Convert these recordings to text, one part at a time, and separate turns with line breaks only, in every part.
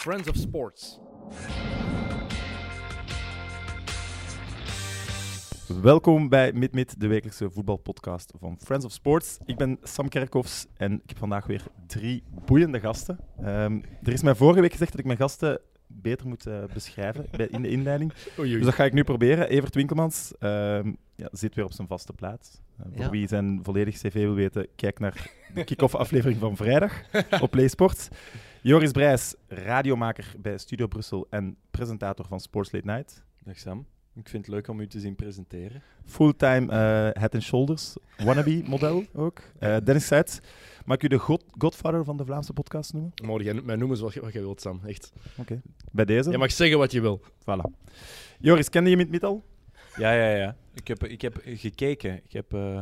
Friends of Sports.
Welkom bij MidMid, de wekelijkse voetbalpodcast van Friends of Sports. Ik ben Sam Kerkhoffs en ik heb vandaag weer drie boeiende gasten. Ehm, er is mij vorige week gezegd dat ik mijn gasten beter moet eh, beschrijven bij- in de inleiding.
Oei,
Dus dat ga ik nu proberen. Evert Winkelmans ehm, ja, zit weer op zijn vaste plaats. Eh, voor
Ja.
wie zijn volledig cv wil weten, kijk naar de kick-off aflevering van vrijdag op PlaySports. Joris Brijs, radiomaker bij Studio Brussel en presentator van Sports Late Night.
Dag Sam. Ik vind het leuk om u te zien presenteren.
Fulltime eh, Head and Shoulders, wannabe-model ook. Eh, Dennis Zuid, mag ik u de god- godfather van de Vlaamse podcast noemen?
Mogen jij mij noemen zoals je- wat jij wilt, Sam. Echt.
Bij deze?
Je mag zeggen wat je wil.
Voilà. Joris, kende je Mit al?
Ja, ja, ja. Ik heb, ik heb gekeken. Ik, heb, eh,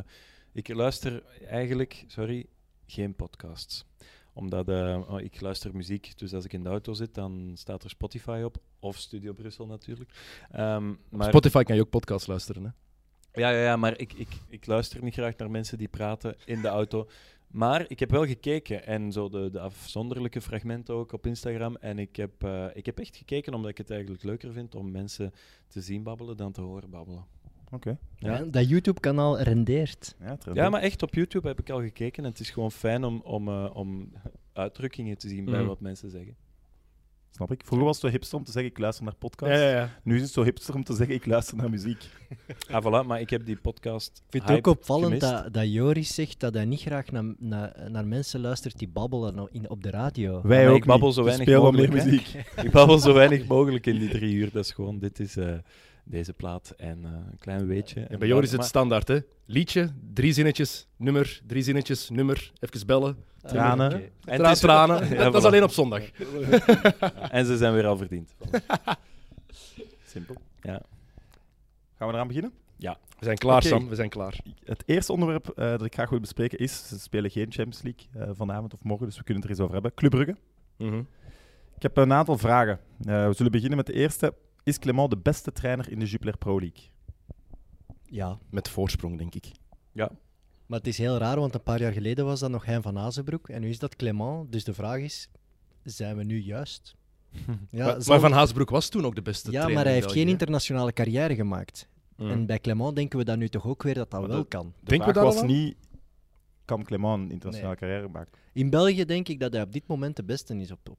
ik luister eigenlijk, sorry, geen podcasts. Omdat eh, oh, ik luister muziek, dus als ik in de auto zit, dan staat er Spotify op. Of Studio Brussel natuurlijk. Ehm, maar,
Spotify kan je ook podcasts luisteren. Hè?
ja, ja, ja, maar ik, ik, ik luister niet graag naar mensen die praten in de auto. Maar ik heb wel gekeken en zo de, de afzonderlijke fragmenten ook op Instagram. En ik heb, eh, ik heb echt gekeken omdat ik het eigenlijk leuker vind om mensen te zien babbelen dan te horen babbelen. Ja.
Ja, dat YouTube-kanaal rendeert.
Ja, het
Ja, maar echt op YouTube heb ik al gekeken en het is gewoon fijn om, om, eh, om uitdrukkingen te zien bij
Mhm.
wat mensen zeggen.
Snap ik. Vroeger was het zo hipster om te zeggen, ik luister naar podcasts.
ja.
Nu is het zo hipster om te zeggen, ik luister naar muziek.
Ah, voilà, maar ik heb die podcast.
Ik vind het ook
hype
opvallend
gemist.
dat, dat Joris zegt dat hij niet graag naar, naar, naar mensen luistert die babbelen o- in, op de radio.
Wij
maar
ook
ik babbel
niet.
zo
We
weinig
spelen wel meer
mogelijk,
muziek.
Ik babbel zo weinig mogelijk in die drie uur. Dat is gewoon, dit is eh, deze plaat en eh, een klein weetje.
En bij Joris is
Maar-
het standaard, hè? Liedje, drie zinnetjes, nummer, drie zinnetjes, nummer. Even bellen.
Eh,
Tranen.
Oké. En
En
het is-
tranen.
Ja,
dat is
voilà.
alleen op zondag.
En ze zijn weer al verdiend. Simpel. Ja.
Gaan we eraan beginnen?
We zijn klaar,
Oké.
Sam. We zijn klaar.
Het eerste onderwerp eh, dat ik graag wil bespreken is, ze spelen geen Champions League eh, vanavond of morgen, dus we kunnen het er eens over hebben. Club Brugge.
Mhm.
Ik heb een aantal vragen. Eh, we zullen beginnen met de eerste. Is Clement de beste trainer in de Jupiler Pro League?
Ja,
Met voorsprong, denk ik.
maar het is heel raar, want een paar jaar geleden was dat nog Hein van Azenbroek. En nu is dat Clement. Dus de vraag is, zijn we nu juist? Ja,
maar,
zal-
maar Van Haasbroek was toen ook de beste
ja maar
trainer
hij
in
heeft geen
België,
internationale carrière gemaakt.
hè. Mm.
En bij Clement denken we dan nu toch ook weer dat dat
Maar
wel
dat-
kan.
De
Denken we
vraag
daar
was
al aan?
niet, kan Clement een internationale carrière maken?
In België denk ik dat hij op dit moment de beste is, op, op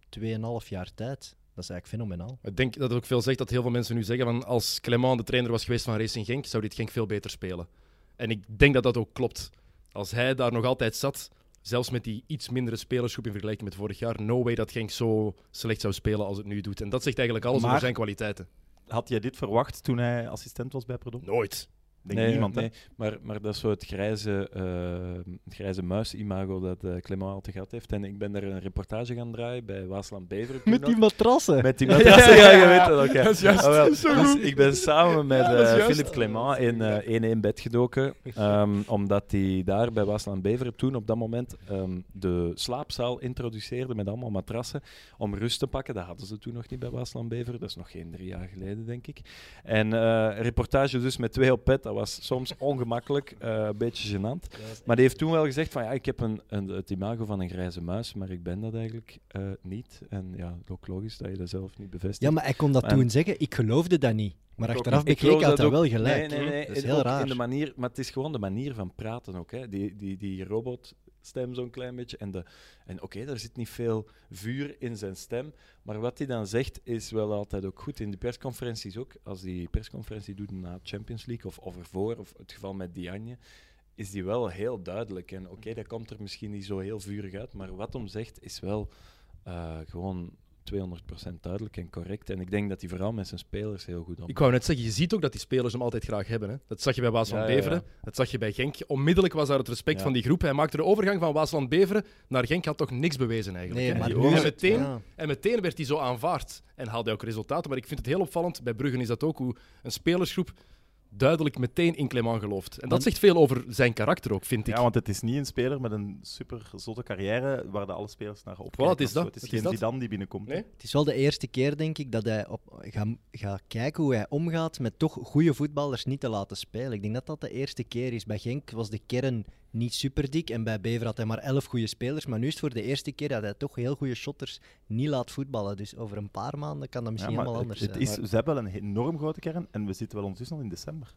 2,5 jaar tijd. Dat is eigenlijk fenomenaal.
Ik denk dat het ook veel zegt dat heel veel mensen nu zeggen van als Clement de trainer was geweest van Racing Genk, zou dit Genk veel beter spelen. En ik denk dat dat ook klopt. Als hij daar nog altijd zat, zelfs met die iets mindere spelersgroep in vergelijking met vorig jaar, no way dat Genk zo slecht zou spelen als het nu doet. En dat zegt eigenlijk alles
Maar-
over zijn kwaliteiten.
Had jij dit verwacht toen hij assistent was bij Predom?
Nooit.
Denk niemand, hè?
Maar, maar dat is zo het grijze, eh, het grijze muis-imago dat eh Clement altijd gehad heeft. En ik ben daar een reportage gaan draaien bij Waasland Beveren. toen nog.
matrassen.
Met die
Ja,
matras-
ja, ja, je weet dat ook. hè.
Dat is juist,
Ah, wel.
dat is zo
Dus
goed.
ik ben samen met
Ja, dat is
eh,
juist.
Philippe Clement in eh, 1-1 bed gedoken. ehm, omdat hij daar bij Waasland Beveren toen op dat moment ehm, de slaapzaal introduceerde met allemaal matrassen. Om rust te pakken. Dat hadden ze toen nog niet bij Waasland Beveren. Dat is nog geen drie jaar geleden, denk ik. En eh, reportage dus met twee op pet. Dat was soms ongemakkelijk. eh, een beetje gênant. Maar die heeft toen wel gezegd van ja, ik heb een, een, het imago van een grijze muis, maar ik ben dat eigenlijk eh, niet. En ja, ook logisch dat je dat zelf niet bevestigt.
Ja, maar hij kon dat
En-
toen zeggen. Ik geloofde dat niet. Maar
Ik ook
achteraf
niet.
Ik geloof
bekeken had hij
ook-
wel gelijk.
Nee, nee, nee.
Dat is
en
heel
ook
raar.
In de manier, maar het is gewoon de manier van praten ook. Hè. Die, die, die robotstem zo'n klein beetje. En, de- en oké, daar zit niet veel vuur in zijn stem. Maar wat hij dan zegt is wel altijd ook goed. In de persconferenties ook. Als die persconferentie doet na Champions League of, of ervoor, of het geval met Diagne, is die wel heel duidelijk. En oké, dat komt er misschien niet zo heel vurig uit. Maar wat hem zegt is wel eh, gewoon. 200% duidelijk en correct. En ik denk dat hij vooral met zijn spelers heel goed om.
Ik wou net zeggen, je ziet ook dat die spelers hem altijd graag hebben. Hè? Dat zag je bij Waasland
Ja, ja, ja.
Beveren, dat zag je bij Genk. Onmiddellijk was daar het respect
Ja.
van die groep. Hij maakte de overgang van Waasland Beveren naar Genk, had toch niks bewezen eigenlijk.
Nee,
hè?
maar
die
nu
oren
is
en
het-
meteen
ja.
En meteen werd hij zo aanvaard en haalde hij ook resultaten. Maar ik vind het heel opvallend, bij Bruggen is dat ook, hoe een spelersgroep duidelijk meteen in Clement gelooft. En dat
Want-
zegt veel over zijn karakter ook, vind ik.
Ja, want het is niet een speler met een super zotte carrière waar de alle spelers naar opkijken.
Voilà, het is
of zo.
dat.
Het is
Het is
geen
dat.
Zidane die binnenkomt. hè?
Nee?
Het is wel de eerste keer, denk ik, dat hij op, gaat ga kijken hoe hij omgaat met toch goede voetballers niet te laten spelen. Ik denk dat dat de eerste keer is. Bij Genk was de kern niet super dik. En bij Bever had hij maar 11 goede spelers. Maar nu is het voor de eerste keer dat hij toch heel goede shotters niet laat voetballen. Dus over een paar maanden kan dat misschien
maar
helemaal
het-
anders
het
zijn.
is, ze hebben wel een enorm grote kern en we zitten wel ondertussen al in december.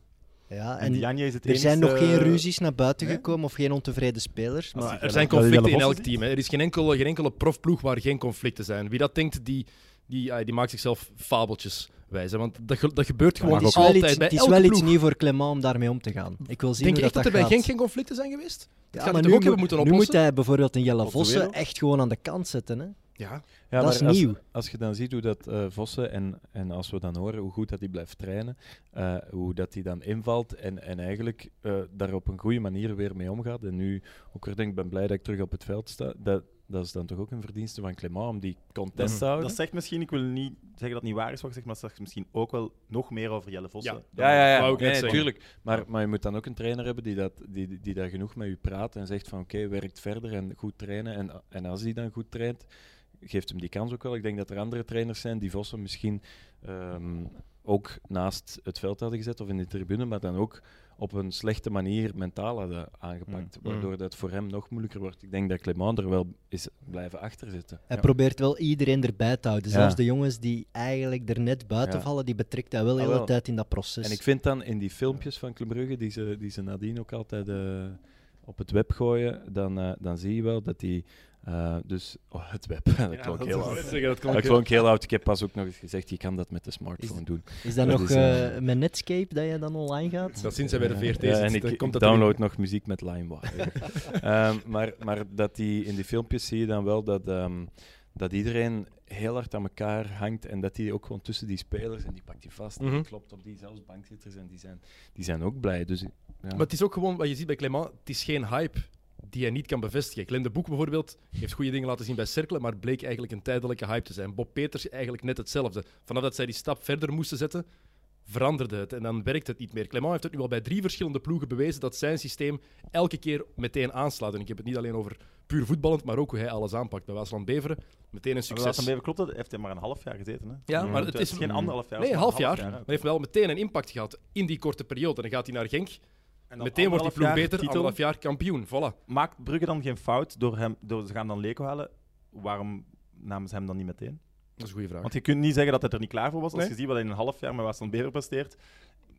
ja,
En,
en
Dianje is het
er zijn nog
enigste-
geen ruzies naar buiten
nee?
gekomen of geen ontevreden spelers.
Als
Maar
ik-
Er
Ja,
zijn
dat- dat je
conflicten in
wel
elk
een
team. Hè. Er is geen enkele, geen enkele profploeg waar geen conflicten zijn. Wie dat denkt, die, die, ah, die maakt zichzelf fabeltjes wijs. hè. Want dat, ge- dat gebeurt
maar
gewoon
het is wel,
altijd
iets,
bij
het is
elke
wel
ploeg.
iets nieuw voor Clement om daarmee om te gaan. Ik wil zien
Denk je
hoe
echt dat,
dat,
er bij
gaat.
Genk geen conflicten zijn geweest?
Ja,
gaat hij
maar
toch
nu
ook hebben
moet-
moeten
Nu moet
oplossen?
hij bijvoorbeeld een Jelle
Of de
Vossen
wereld.
echt gewoon aan de kant zetten. Hè?
Ja.
Ja,
Dat is
maar als-
nieuw.
Als je dan ziet hoe dat eh, Vossen, en, en als we dan horen hoe goed dat hij blijft trainen, eh, hoe dat hij dan invalt en, en eigenlijk eh, daar op een goede manier weer mee omgaat. En nu ook weer denk ik ben blij dat ik terug op het veld sta. Dat, dat is dan toch ook een verdienste van Clement om die
Dat,
Mhm.
contest te houden.
dat zegt misschien, ik wil niet zeggen dat het niet waar is wat ik zeg, maar dat zegt misschien ook wel nog meer over Jelle Vossen.
Ja.
dan-
ja, ja, ja.
wou ik
Nee,
net zeggen.
natuurlijk. Maar, maar je moet dan ook een trainer hebben die, dat, die, die- die daar genoeg met u praat en zegt van oké, werkt verder en goed trainen. En, en als hij dan goed traint, geeft hem die kans ook wel. Ik denk dat er andere trainers zijn die Vossen misschien ehm, ook naast het veld hadden gezet of in de tribune, maar dan ook op een slechte manier mentaal hadden aangepakt.
Mm.
Waardoor dat voor hem nog moeilijker wordt. Ik denk dat Clement er wel is blijven achter zitten.
Hij
Ja.
probeert wel iedereen erbij te houden.
Ja.
Zelfs de jongens die eigenlijk er net buiten
Ja.
vallen, die betrekt hij wel de
Ah,
hele
wel.
tijd in dat proces.
En ik vind dan in die filmpjes van Club Brugge, die ze, die ze nadien ook altijd eh, op het web gooien, dan, eh, dan zie je wel dat die... eh, dus, oh, het web, dat klonk
dat
heel
is-
oud.
Zeggen, dat klonk
Dat
heel-
klonk heel oud. Ik heb pas ook nog eens gezegd, je kan dat met de smartphone
Is-
doen.
is dat
dat
nog
is,
eh,
eh,
met Netscape dat je dan online gaat?
Dat sinds hij bij de VRT
Ja,
zit,
Eh, en ik,
dan
ik
komt dat
download
erin.
nog muziek met LimeWire. Ehm, maar, maar dat die, in die filmpjes zie je dan wel dat, ehm, dat iedereen heel hard aan elkaar hangt en dat die ook gewoon tussen die spelers en die pakt die vast en die
Mhm.
klopt op die, zelfs bankzitters en die zijn, die zijn ook blij. Dus, ja.
Maar het is ook gewoon wat je ziet bij Clement. Het is geen hype die hij niet kan bevestigen. Clem de Boek bijvoorbeeld heeft goede dingen laten zien bij Cerkelen, maar bleek eigenlijk een tijdelijke hype te zijn. Bob Peters eigenlijk net hetzelfde. Vanaf dat zij die stap verder moesten zetten, veranderde het en dan werkt het niet meer. Clement heeft het nu al bij drie verschillende ploegen bewezen dat zijn systeem elke keer meteen aanslaat. En ik heb het niet alleen over puur voetballend, maar ook hoe hij alles aanpakt. Bij Waasland Beveren meteen een
Maar laat
succes.
hem even klopt dat heeft hij maar een half jaar gezeten. Hè?
Mm. Ja, maar
Dus
het is
geen anderhalf jaar.
Nee,
het
een
is maar
half jaar. Maar
hè.
hij heeft wel meteen een impact gehad in die korte periode. En dan gaat hij naar Genk.
En dan
Meteen wordt die
anderhalf
ploeg
jaar
beter.
titel.
Anderhalf jaar kampioen. Voilà.
Maakt Brugge dan geen fout door hem, door ze gaan dan Leko halen? Waarom namen ze hem dan niet meteen?
Dat is een goede vraag.
Want je kunt niet zeggen dat hij er niet klaar voor was. Als
Nee.
je ziet wat hij in een half jaar met Waasland Bever presteert.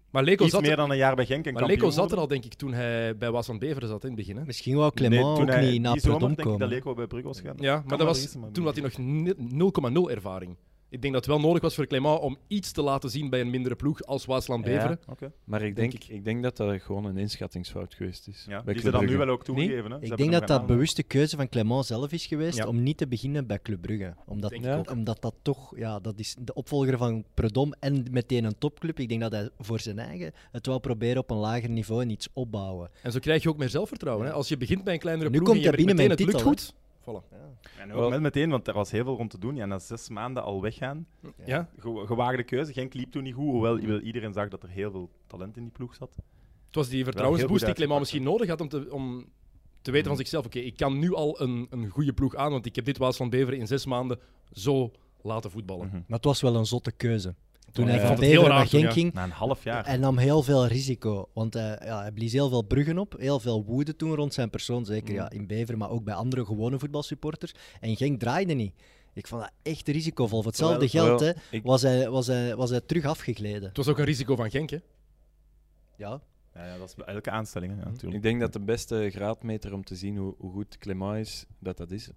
Maar Leko
Iets
zat,
meer dan een jaar bij Genk en
maar Leko
kampioen
zat er
worden.
al, denk ik, toen hij bij Waas van Beveren zat in het begin. Hè?
Misschien wou
Nee,
Clement
toen
ook
hij,
niet naar
die zomer
Perdom
denk ik dat
komen.
Leko bij Brugge was gegaan.
Ja, maar
maar
dat was,
vergissen, maar
toen had hij nog ni- 0,0 ervaring. Ik denk dat het wel nodig was voor Clément om iets te laten zien bij een mindere ploeg als Waasland
Ja.
Beveren.
Oké.
Maar ik
Denk
denk, ik. denk dat dat gewoon een inschattingsfout geweest is.
Ja, die
bij
ze
Club
dan nu
Brugge.
wel ook toegegeven. Hè? Ze
Ik
hebben
denk
hem
dat dat
gedaan.
bewuste keuze van Clement zelf is geweest
Ja.
om niet te beginnen bij Club Brugge. Omdat,
Denk
ik Ja. ook.
omdat dat toch, ja, dat is de opvolger van Predom en meteen een topclub. Ik denk dat hij voor zijn eigen het wel proberen op een lager niveau en iets opbouwen.
En zo krijg je ook meer zelfvertrouwen. Hè? Als je begint bij een kleinere
Nu
ploeg
komt
en je
hij
merkt meteen
binnen
het
met
lukt goed. Voilà.
En ook
Wel-
met meteen, want er was heel veel rond te doen. Ja, na zes maanden al weggaan.
Ja?
Ge- Gewaagde keuze. Genk liep toen niet goed. Hoewel
Mm.
wel iedereen zag dat er heel veel talent in die ploeg zat.
Het was die
heel
vertrouwensboost
goed
die Clément
uitgepakt, Mm.
misschien nodig had om te, om te weten van zichzelf: oké, ik kan nu al een, een goede ploeg aan, want ik heb dit Waasland Beveren in zes maanden zo laten
Mhm.
voetballen.
Maar het was wel een zotte keuze. Toen
Ja,
hij
ik
van
vond het heel
Beveren
raar
naar
toen,
Genk
ja.
ging,
Na een half jaar.
Hij nam heel veel risico, want hij, ja, hij blies heel veel bruggen op, heel veel woede toen rond zijn persoon, zeker
Mm.
ja, in Bever, maar ook bij andere gewone voetbalsupporters. En Genk draaide niet. Ik vond dat echt risicovol. Voor hetzelfde
Terwijl-
geld hè,
terwijl ik-
was, hij, was, hij, was hij terug afgegleden.
Het was ook een risico van Genk. Hè?
Mm. Ja.
Ja, ja, dat is bij elke aanstelling. hè. Ja, natuurlijk.
Mm. Ik denk dat de beste graadmeter om te zien hoe, hoe goed Clément is, dat dat is.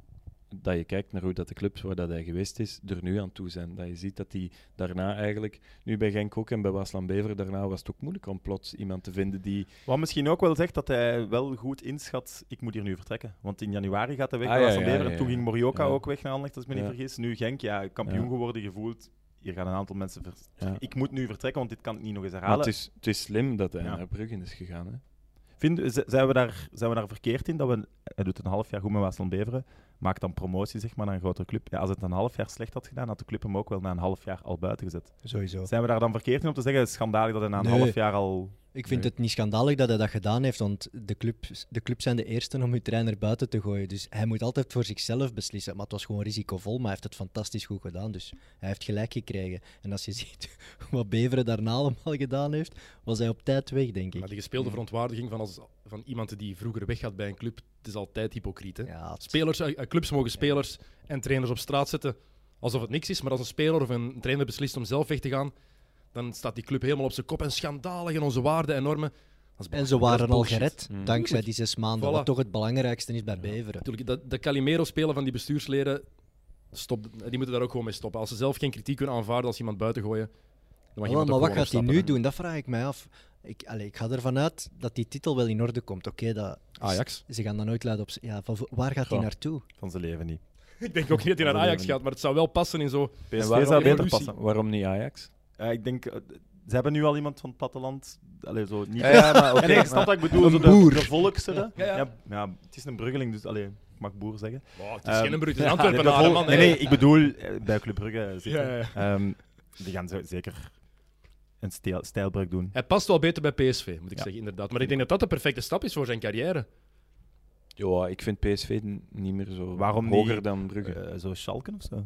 Dat je kijkt naar hoe dat de clubs waar dat hij geweest is, er nu aan toe zijn. Dat je ziet dat die daarna eigenlijk, nu bij Genk ook en bij Waasland Bever, daarna was het ook moeilijk om plots iemand te vinden die...
Wat misschien ook wel zegt dat hij wel goed inschat, ik moet hier nu vertrekken. Want in januari gaat hij weg
Ah,
naar
ja,
Waasland
ja,
Beveren.
ja,
Toen
ja.
ging Morioka
Ja.
ook weg naar Anderlecht, als ik me niet
Ja.
vergis. Nu Genk, ja, kampioen
Ja.
geworden, gevoeld. Hier gaan een aantal mensen... ver-
Ja.
Ik moet nu vertrekken, want dit kan ik niet nog eens
Maar
herhalen.
het is, het is slim dat hij
Ja.
naar Bruggen is gegaan. Hè?
Vinden- z- zijn, we daar, zijn we daar verkeerd in? Dat we, hij doet een half jaar goed met Waasland Beveren, maakt dan promotie zeg maar, naar een grotere club. Ja, als het een half jaar slecht had gedaan, had de club hem ook wel na een half jaar al buiten gezet.
Sowieso.
Zijn we daar dan verkeerd in om te zeggen, het is schandalig dat hij na een
Nee.
half jaar al...
Ik vind
Nee.
het niet schandalig dat hij dat gedaan heeft, want de, club, de clubs zijn de eerste om hun trainer buiten te gooien. Dus hij moet altijd voor zichzelf beslissen. Maar het was gewoon risicovol, maar hij heeft het fantastisch goed gedaan. Dus hij heeft gelijk gekregen. En als je ziet wat Beveren daarna allemaal gedaan heeft, was hij op tijd weg, denk ik.
Maar die gespeelde verontwaardiging van, als, van iemand die vroeger weggaat bij een club, het is altijd hypocriet. Hè?
Ja, het-
Spelers, eh, eh, clubs mogen spelers en trainers op straat zetten alsof het niks is. Maar als een speler of een trainer beslist om zelf weg te gaan, dan staat die club helemaal op zijn kop. En schandalig en onze waarden en normen. Dat is
En
belachelijk, dat
ze waren
is
al
bullshit.
gered,
Mm.
dankzij die zes maanden,
Voilà.
wat toch het belangrijkste is bij Beveren.
Natuurlijk, dat, dat Calimero-spelen van die bestuursleden, stop, die moeten daar ook gewoon mee stoppen. Als ze zelf geen kritiek kunnen aanvaarden als iemand buiten gooien, dan mag
Wel,
iemand
Oh, maar
ook
wat
gewoon
gaat hij
opstappen,
nu
hè.
doen? Dat vraag ik mij af. Ik, allee, ik ga ervan uit dat die titel wel in orde komt. Oké, dat
Ajax.
ze gaan dan nooit luid op... Ja, van vo- waar gaat hij
Ja.
naartoe?
Van zijn leven niet.
Ik denk ook niet dat hij naar Ajax gaat, maar het zou wel passen in zo.
En
PSV
waarom-
zou beter
Evolutie.
passen.
Waarom niet Ajax?
Ja, ik denk, eh, ze hebben nu al iemand van het platteland. Allee, zo niet.
Ja, ja, maar oké,
en ik snap
maar-
wat ik bedoel. Zo de,
boer.
de volksere.
Ja, ja.
het is een bruggeling, dus allee, ik mag boer zeggen.
Wow, het is
Ehm,
geen een brute
Nee, de
Antwerpen,
vol-
man.
nee,
hè.
nee, ik bedoel eh, bij Club Brugge zitten.
Ja, ja,
Ehm, die gaan zo- zeker een stijl, stijlbreuk doen.
Hij past wel beter bij PSV, moet ik
Ja.
zeggen, inderdaad. Maar ik denk dat dat de perfecte stap is voor zijn carrière.
Ja, ik vind PSV n- niet meer zo
Waarom niet?
hoger dan Brugge.
Eh, zo Schalken of zo.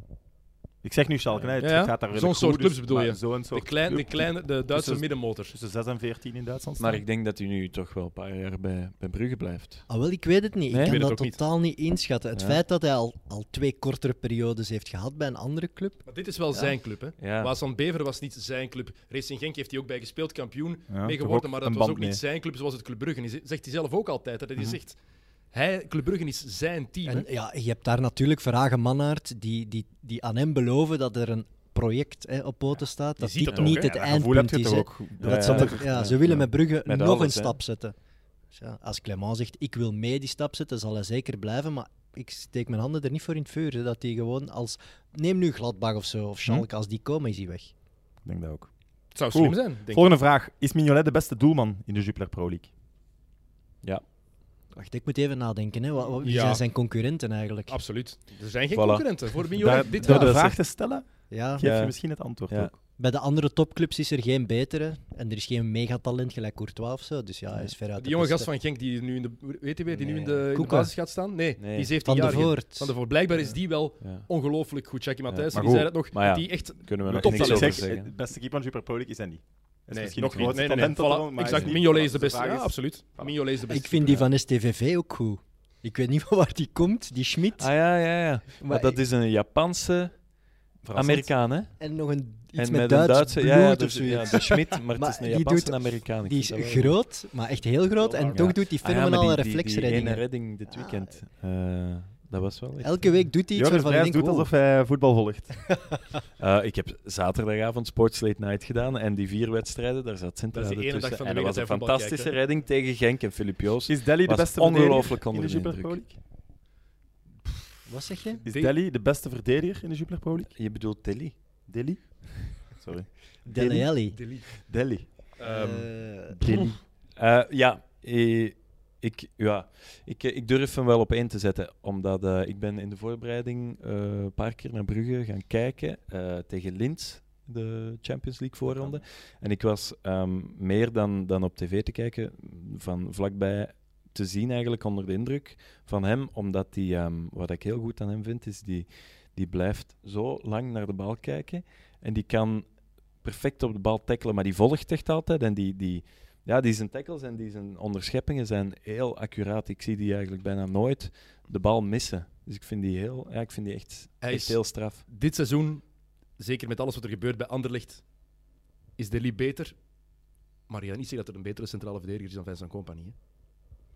Ik zeg nu Schalken, hè, het
Ja, ja.
gaat daar redelijk
Zo'n soort
goed, dus-
clubs bedoel
maar
je?
Zo'n soort
De, klein, de,
club
kleine, de Duitse
dus-
middenmotor.
Tussen 6 en 14 in Duitsland.
maar ik denk dat hij nu toch wel een paar jaar bij, bij Brugge blijft.
Ah, wel, ik weet het niet.
Nee?
ik
Ik
kan
weet
dat
het ook niet.
totaal niet inschatten. Het
Ja.
feit dat hij al, al twee kortere periodes heeft gehad bij een andere club.
Maar dit is wel
Ja.
zijn club, hè?
Ja.
Waasland Bever was niet zijn club. Racing Genk heeft hij ook bij gespeeld, kampioen
Ja,
mee
toch
geworden.
ook
Maar dat
een
was
band
ook niet
mee. Mhm.
zijn club zoals het Club Brugge is. Zegt hij zelf ook altijd. hè, Dat hij zegt, hij, Club Brugge is zijn team.
En
hè.
ja, je hebt daar natuurlijk Verhagen Mannaert, die, die, die aan hem beloven dat er een project hè, op poten staat. Dat
ziet
dit
dat ook,
niet
hè?
het
Ja, dat gevoel
eindpunt
heb je
is.
toch
hè.
ook.
Dat
Ja,
ze,
ja,
er- ja,
ja.
ze willen met Brugge
Met
nog
alles,
een
hè.
stap zetten. Dus ja, als Clement zegt, ik wil mee die stap zetten, zal hij zeker blijven. Maar ik steek mijn handen er niet voor in het vuur. hè, dat hij gewoon als... Neem nu Gladbach of zo,
Hm?
of Schalke. Als die komen, is hij weg.
Ik denk dat ook.
Het zou
Cool.
slim zijn, denk ik.
Volgende vraag. Is Mignolet de beste doelman in de Jupiler Pro League?
Wacht, ik moet even nadenken. Hè. Wat, wat- wie
Ja.
zijn zijn concurrenten eigenlijk?
Absoluut. Er zijn geen
Voilà.
concurrenten voor Mignolet
Daar,
dit
door
jaar.
de
dat is
vraag te stellen,
Ja,
geef je
Ja.
misschien het antwoord
Ja.
ook.
bij de andere topclubs is er geen betere. En er is geen megatalent gelijk Courtois of zo. Dus ja, hij is veruit
Die jonge gast van Genk die nu in de, weet je, wie die nu in de, in de
Koeken.
basis gaat staan? Nee,
Nee.
die 17
Van
jaar.
de Voort.
Van de Voort. Blijkbaar is die wel
Ja.
ongelooflijk goed. Jackie Matthijs,
maar
die
goed.
zei dat nog.
Maar ja.
Die echt
Kunnen we
De
nog
top zal
Top
niks
ik
over
zeg,
zeggen.
de beste keeper van Jupiler Pro League is hij niet. Dat is
Nee,
misschien
nog
het
niet.
grootste
Nee, nee.
talent dat er-
Voilà.
maar hij
Exact.
niet.
Mignolet is de
Dus
beste.
vraag
Ja,
is-
absoluut.
Voilà.
Mignolet is de beste.
Ik vind die van STVV ook goed. Ik weet niet van waar die komt, die Schmid.
Ah ja, ja, ja. Maar,
Maar
dat is een Japanse
Verrassend.
Amerikaan, hè?
En nog een, iets
en
met,
een
Duits
Duitse,
bloed
ja, ja,
of
dus, ja,
zoiets.
de Schmidt, maar,
Maar
het is een
die
Japanse
doet-
Amerikaan. Ik
Die
vind
is
dat wel-
groot, maar echt heel groot. En
Ja.
toch doet hij
Ah ja, maar
fenomenale
die- die- Die,
reflexreddingen.
ene redding dit weekend, eh, dat was wel echt-
Elke week doet hij iets
Joris
waarvan ik
Brijs
denk... oh,
doet
wow.
alsof hij voetbal volgt.
Eh, ik heb zaterdagavond Sports Late Night gedaan en die vier wedstrijden, daar zat Sintra
Dat is die ene dag van
tussen.
de
en dat
week
was een
dat hij voetbal
fantastische
kijkt,
redding tegen Genk en Filip Joos.
Is Delhi de
Was
beste
ongelooflijk
verdediger in de
onder
Jupiler
de
Pro
indruk.
League?
Wat zeg je?
Is
Die-
Delhi de beste verdediger in de Jupiler Pro League?
Je bedoelt Tilly?
Delhi? Sorry.
Dele Alli.
Delete.
Delhi.
Ehm,
Eh,
Delhi.
Eh, ja, eh, ik, ja ik, eh, ik durf hem wel op één te zetten. Omdat eh, ik ben in de voorbereiding eh, een paar keer naar Brugge gaan kijken. eh, tegen Linz, de Champions League voorronde. En ik was ehm, meer dan, dan op tv te kijken, van vlakbij te zien eigenlijk onder de indruk van hem. Omdat die, ehm, wat ik heel goed aan hem vind, is die, die blijft zo lang naar de bal kijken. En die kan perfect op de bal tackelen, maar die volgt echt altijd. En die, die, ja, die zijn tackles en die zijn onderscheppingen zijn heel accuraat. Ik zie die eigenlijk bijna nooit de bal missen. Dus ik vind die, heel, ja, ik vind die echt,
Hij
echt
is-
heel straf.
dit seizoen, zeker met alles wat er gebeurt bij Anderlecht, is Delhi beter. Maar je gaat niet zeggen dat er een betere centrale verdediger is dan Vincent Company. Hè?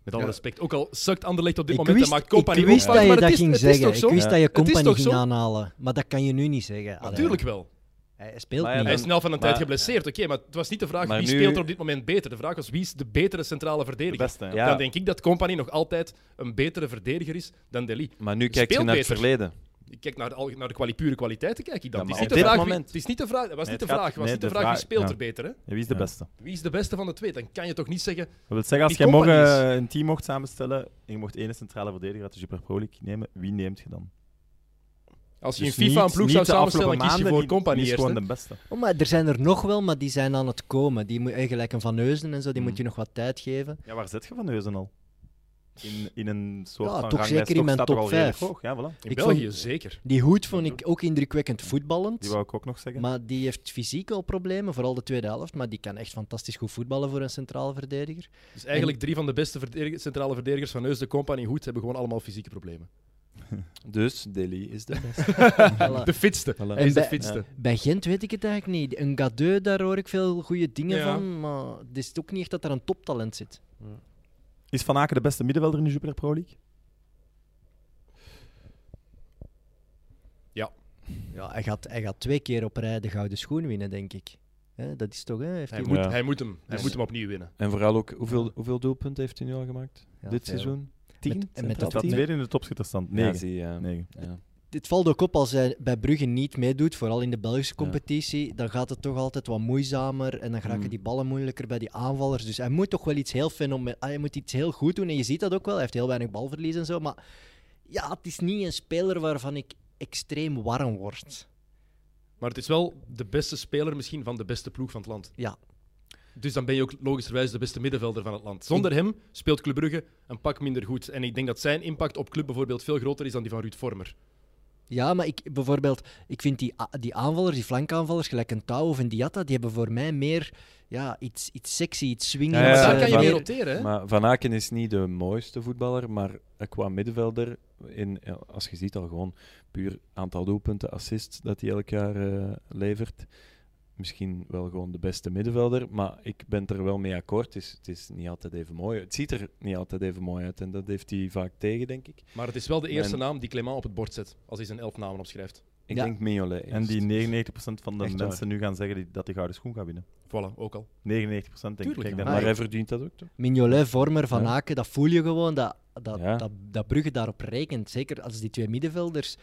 Met alle
Ja.
respect. Ook al sukt Anderlecht op dit
ik
moment
wist,
en maakt Company
ik wist
ook fout,
dat je
maar
dat
het is-
ging
het is
zeggen.
toch zo?
Ik wist dat je
Het is
compagnie
toch
ging
zo?
aanhalen. Maar dat kan je nu niet zeggen. Allee,
Natuurlijk wel.
Hij speelt
Maar ja,
niet.
Hij is snel van een tijd
Maar-
geblesseerd, oké, maar het was niet de vraag
Maar
wie
nu-
speelt er op dit moment beter. De vraag was wie is de betere centrale
De
verdediger.
beste, ja.
Ja.
Dan denk ik dat Company nog altijd een betere verdediger is dan Delhi.
Maar nu
Speelt
kijkt je naar het
beter.
verleden.
Ik kijk naar de, al- naar de kwali- pure kwaliteiten, kijk ik dan.
Ja,
het, is
maar
niet
op
de
dit
vraag wie-
moment-
het is niet de vraag, dat was
Nee,
niet de
het gaat-
vraag, was
nee,
niet de
de
vraag, wie
vraag-
speelt
ja.
er beter. Hè?
En wie is de
Ja.
beste?
Wie is de beste van de twee? Dan kan je toch niet zeggen,
Dat wil zeggen,
Die
als jij morgen
companies.
een team mocht samenstellen en je mocht één centrale verdediger uit de Jupiler Pro League nemen, wie neemt je dan?
Als je
Dus
in FIFA
niet-
een ploeg
niet
zou
de
samenstellen, dan kies
afgelopen
je
maanden,
voor
die- die
Company
is
eerst.
gewoon
hè.
de beste.
Oh, maar er zijn er nog wel, maar die zijn aan het komen. Die moet, eh, gelijk een Van Heusden en zo, die
Hmm.
moet je nog wat tijd geven.
Ja, waar zit je van Neuzen al? In, in een soort
Ja,
van
toch
ranglijst,
zeker in mijn
staat toch
top
al redelijk
vijf.
hoog, Ja, voilà.
In
Ik
België
vond-
zeker.
Die Hoed vond ik ook indrukwekkend voetballend.
Die wou ik ook nog zeggen.
Maar die heeft fysiek al problemen, vooral de tweede helft. Maar die kan echt fantastisch goed voetballen voor een centrale verdediger.
Dus eigenlijk drie van de beste verdedig- centrale verdedigers van Neus, de Company Hoed hebben gewoon allemaal fysieke problemen.
Dus Delhi is de beste.
Voilà.
De fitste.
Voilà.
Hij is de
bij-
fitste.
Bij Gent weet ik het eigenlijk niet. Een Gadeu, daar hoor ik veel goede dingen
Ja.
van. Maar het is ook niet echt dat daar een toptalent zit.
Is Van Aken de beste middenvelder in de Jupiler Pro League?
Ja, hij, gaat, hij gaat twee keer op rij de gouden schoen winnen, denk ik. Hè, dat is toch, hè? Heeft
Hij,
hij
moet,
Ja.
hij, moet hem, hij
Dus-
moet hem opnieuw winnen.
En vooral ook, hoeveel, hoeveel doelpunten heeft hij nu al gemaakt?
Ja,
Dit
veel.
seizoen? Tien?
Met- en met
Centraal
Staat
tien?
tweede in de topschitterstand.
Ja,
Negen.
zie je, ja.
Negen.
Ja.
Dit valt ook op als hij bij Brugge niet meedoet, vooral in de Belgische competitie. Dan gaat het toch altijd wat moeizamer en dan geraken
Mm.
die ballen moeilijker bij die aanvallers. Dus hij moet toch wel iets heel fenomenaal, hij moet iets heel goed doen. En je ziet dat ook wel, hij heeft heel weinig balverlies en zo. Maar ja, het is niet een speler waarvan ik extreem warm word.
Maar het is wel de beste speler misschien van de beste ploeg van het land.
Ja.
Dus dan ben je ook logischerwijs de beste middenvelder van het land. Zonder hem speelt Club Brugge een pak minder goed. En ik denk dat zijn impact op club bijvoorbeeld veel groter is dan die van Ruud Vormer.
Ja, maar ik, bijvoorbeeld, ik vind die, a- die aanvallers, die flankaanvallers, gelijk een Touw of een Diatta, die hebben voor mij meer ja, iets, iets sexy, iets swingers.
Ja,
maar
ja,
daar
eh,
kan je
maar-
mee
meer-
roteren, hè?
Maar Van Aken is niet de mooiste voetballer, maar qua middenvelder, in, ja, als je ziet al gewoon puur aantal doelpunten, assists dat hij elk jaar eh, levert. Misschien wel gewoon de beste middenvelder, maar ik ben het er wel mee akkoord. Het is, het is niet altijd even mooi. Het ziet er niet altijd even mooi uit en dat heeft hij vaak tegen, denk ik.
Maar het is wel de eerste
En-
naam die Clément op het bord zet, als hij zijn elf namen opschrijft.
Ik
Ja.
denk Mignolet.
En
eerst.
die 99% van de
Echt waar.
mensen nu gaan zeggen die, dat die gouden schoen gaat winnen.
Voilà, ook al.
99% denk
Tuurlijk,
ik. Kijk
ja.
daarnaar.
Maar hij verdient dat ook, toch?
Mignolet, Vormer, Van
Ja.
Aken, dat voel je gewoon, dat, dat,
Ja.
dat, dat Brugge daarop rekent. Zeker als die twee middenvelders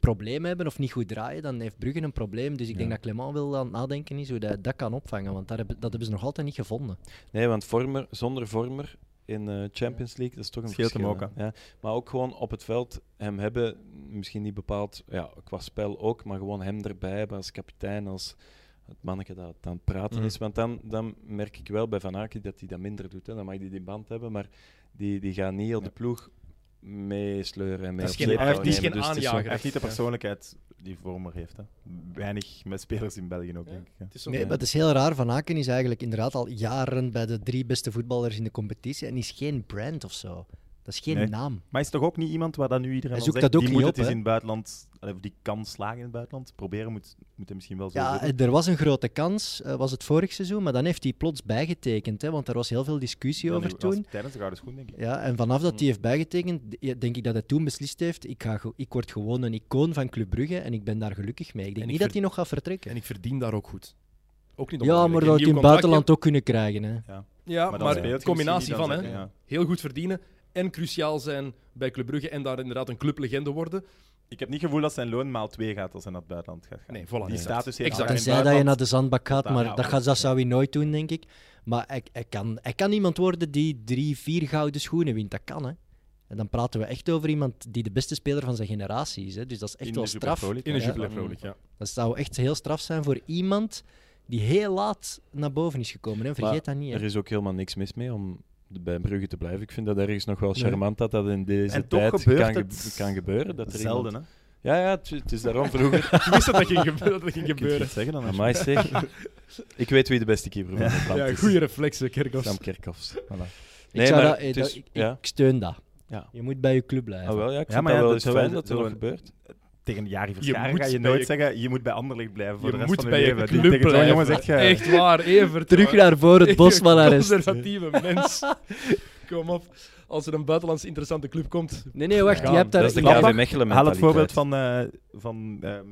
problemen hebben of niet goed draaien, dan heeft Brugge een probleem. Dus ik denk
Ja.
dat Clement wel aan het nadenken is hoe hij dat kan opvangen, want daar hebben, dat hebben ze nog altijd niet gevonden.
Nee, want vormer, zonder vormer in eh Champions League, dat is toch een
Scheelt hem
verschil.
ook,
hè. ja. Maar ook gewoon op het veld hem hebben, misschien niet bepaald ja, qua spel ook, maar gewoon hem erbij hebben als kapitein, als het manneke dat aan het praten
Mhm.
is. Want dan, dan merk ik wel bij Van Aken dat hij dat minder doet. Hè. Dan mag hij die band hebben, maar die, die gaat niet heel de ploeg meesleuren en
Dat
mee
is
op
geen-
sleeptouw
hij heeft- die is
nemen,
geen
dus het is zo-
aanjager.
Hij heeft niet de persoonlijkheid die Vormer heeft. Hè. Weinig met spelers in België ook,
Ja.
denk ik. Ja.
Het is zo.
Nee, maar het is heel raar. Van Aken is eigenlijk inderdaad al jaren bij de drie beste voetballers in de competitie en is geen brand of zo. Dat is geen
Nee.
naam.
Maar is toch ook niet iemand waar dan nu iedereen
Hij
al
zoekt
zegt,
dat ook
die
niet
moet
op,
het eens in
hè?
het buitenland, allee, of die kan slagen in het buitenland. Proberen moet, moet hij misschien wel zo
Ja,
willen.
er was een grote kans, eh, was het vorig seizoen, maar dan heeft hij plots bijgetekend, hè, want er was heel veel discussie
Dan
over
was
toen.
het Tijdens de gouden schoen, denk ik.
Ja, en vanaf dat
Mm.
hij heeft bijgetekend, d- ja, denk ik dat hij toen beslist heeft: ik, ga, ge- ik word gewoon een icoon van Club Brugge en ik ben daar gelukkig mee. Ik denk
En ik
niet
ver-
dat hij nog gaat vertrekken.
En ik verdien daar ook goed. Ook niet
ja,
onbelangrijk.
maar
Een
dat had
nieuw
hij in het
contractje.
buitenland ook kunnen krijgen. Hè.
Ja,
Maar
maar,
dan speelt je
een combinatie
misschien
van,
niet,
hè.
dan zeg je,
Heel goed verdienen en cruciaal zijn bij Club Brugge en daar inderdaad een clublegende worden.
Ik heb niet het gevoel dat zijn loon maal 2 gaat als hij naar het buitenland gaat gaan.
Nee, voilà.
die
exact.
status heeft
Exact.
hij
Dan
in het
zei dat je naar
buitenland-
de zandbak gaat,
daar-
maar
ja,
dat,
voilà.
gaat, dat zou hij nooit doen, denk ik. Maar hij, hij, kan, hij kan iemand worden die drie, vier gouden schoenen wint. Dat kan, hè. En dan praten we echt over iemand die de beste speler van zijn generatie is. Hè. Dus dat is echt
In
wel
de Super
straf.
Pro League,
In de
Ja.
Jupiler Pro League, ja.
Dat zou echt heel straf zijn voor iemand die heel laat naar boven is gekomen. Hè. Vergeet dat niet. hè.
Er is ook helemaal niks mis mee om de- bij Brugge te blijven. Ik vind dat ergens nog wel charmant dat dat in deze
En toch
tijd
gebeurt
kan, ge-
het
kan gebeuren. Dat er iemand-
Zelden, hè.
Ja, ja, het, het is daarom vroeger.
Ik wist dat dat ging gebeuren. Dat dat ging
Kun je
gebeuren.
iets zeggen dan?
Amai zeg. Ik weet wie de beste keeper van het land
Ja,
is.
goede reflexen, Kerkhoffs.
Sam Kerkhoffs.
ik,
Nee,
zou
maar
dat, eh,
het
dat-
is-
ik, ik
ja.
steun dat.
Ja.
Je moet bij je club blijven.
Ah, wel, ja, ik
Ja,
vind
maar
dat
ja,
wel
dat
eens
is wel-
fijn dat er
zo-
nog gebeurt.
Tegen Jari
moet
Verscharen ga je
bij
nooit
je-
zeggen, je moet bij Anderlecht blijven voor
Je
de rest
moet
van
bij
je
je
leven. Die-
club
tegen zo'n
blijven.
jongen zeg je...
Echt waar, Evert.
Terug
jongen.
naar voor het bos van Arrest.
Conservatieve mens. Kom op. Als er een buitenlands interessante club komt.
Nee, nee, wacht.
Ja,
je hebt daar...
dat is de
ik- Gladbach-
KV Mechelen
Haal het voorbeeld
mentaliteit.
van, eh van ehm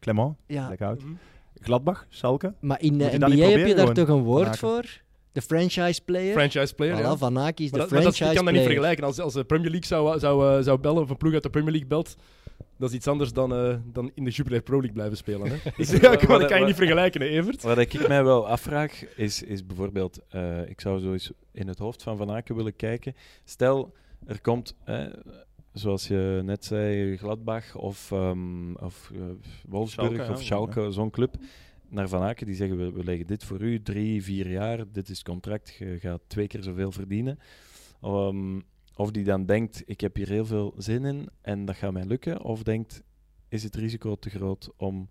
Clement,
Ja,
lekker oud.
Mhm.
Gladbach, Schalke.
maar in
Moet
de
je dat
NBA
niet
heb je
proberen
daar
gewoon,
toch een woord
Aken?
voor? De franchise player?
Franchise player.
Voilà,
ja.
Van Aken
Maar
is de
dat, maar dat-
franchise
je kan dat niet
player.
vergelijken. Als, als de Premier League zou, zou, eh, zou bellen, of een ploeg uit de Premier League belt, dat is iets anders dan, eh, dan in de Jupiler Pro League blijven spelen. Hè? Dus ja, gewoon,
Wat-
dat
wat-
kan je
wat-
niet vergelijken, hè, Evert.
Wat ik mij wel afvraag, is, is bijvoorbeeld, eh, ik zou zo eens in het hoofd van Van Aken willen kijken. Stel, er komt eh, zoals je net zei, Gladbach of, ehm, of eh, Wolfsburg
Schalke,
of
hè,
Schalke, zo'n club, naar Van Aken, die zeggen we, we leggen dit voor u, drie, vier jaar, dit is het contract, je gaat twee keer zoveel verdienen. Ehm, of die dan denkt, ik heb hier heel veel zin in en dat gaat mij lukken, of denkt, is het risico te groot om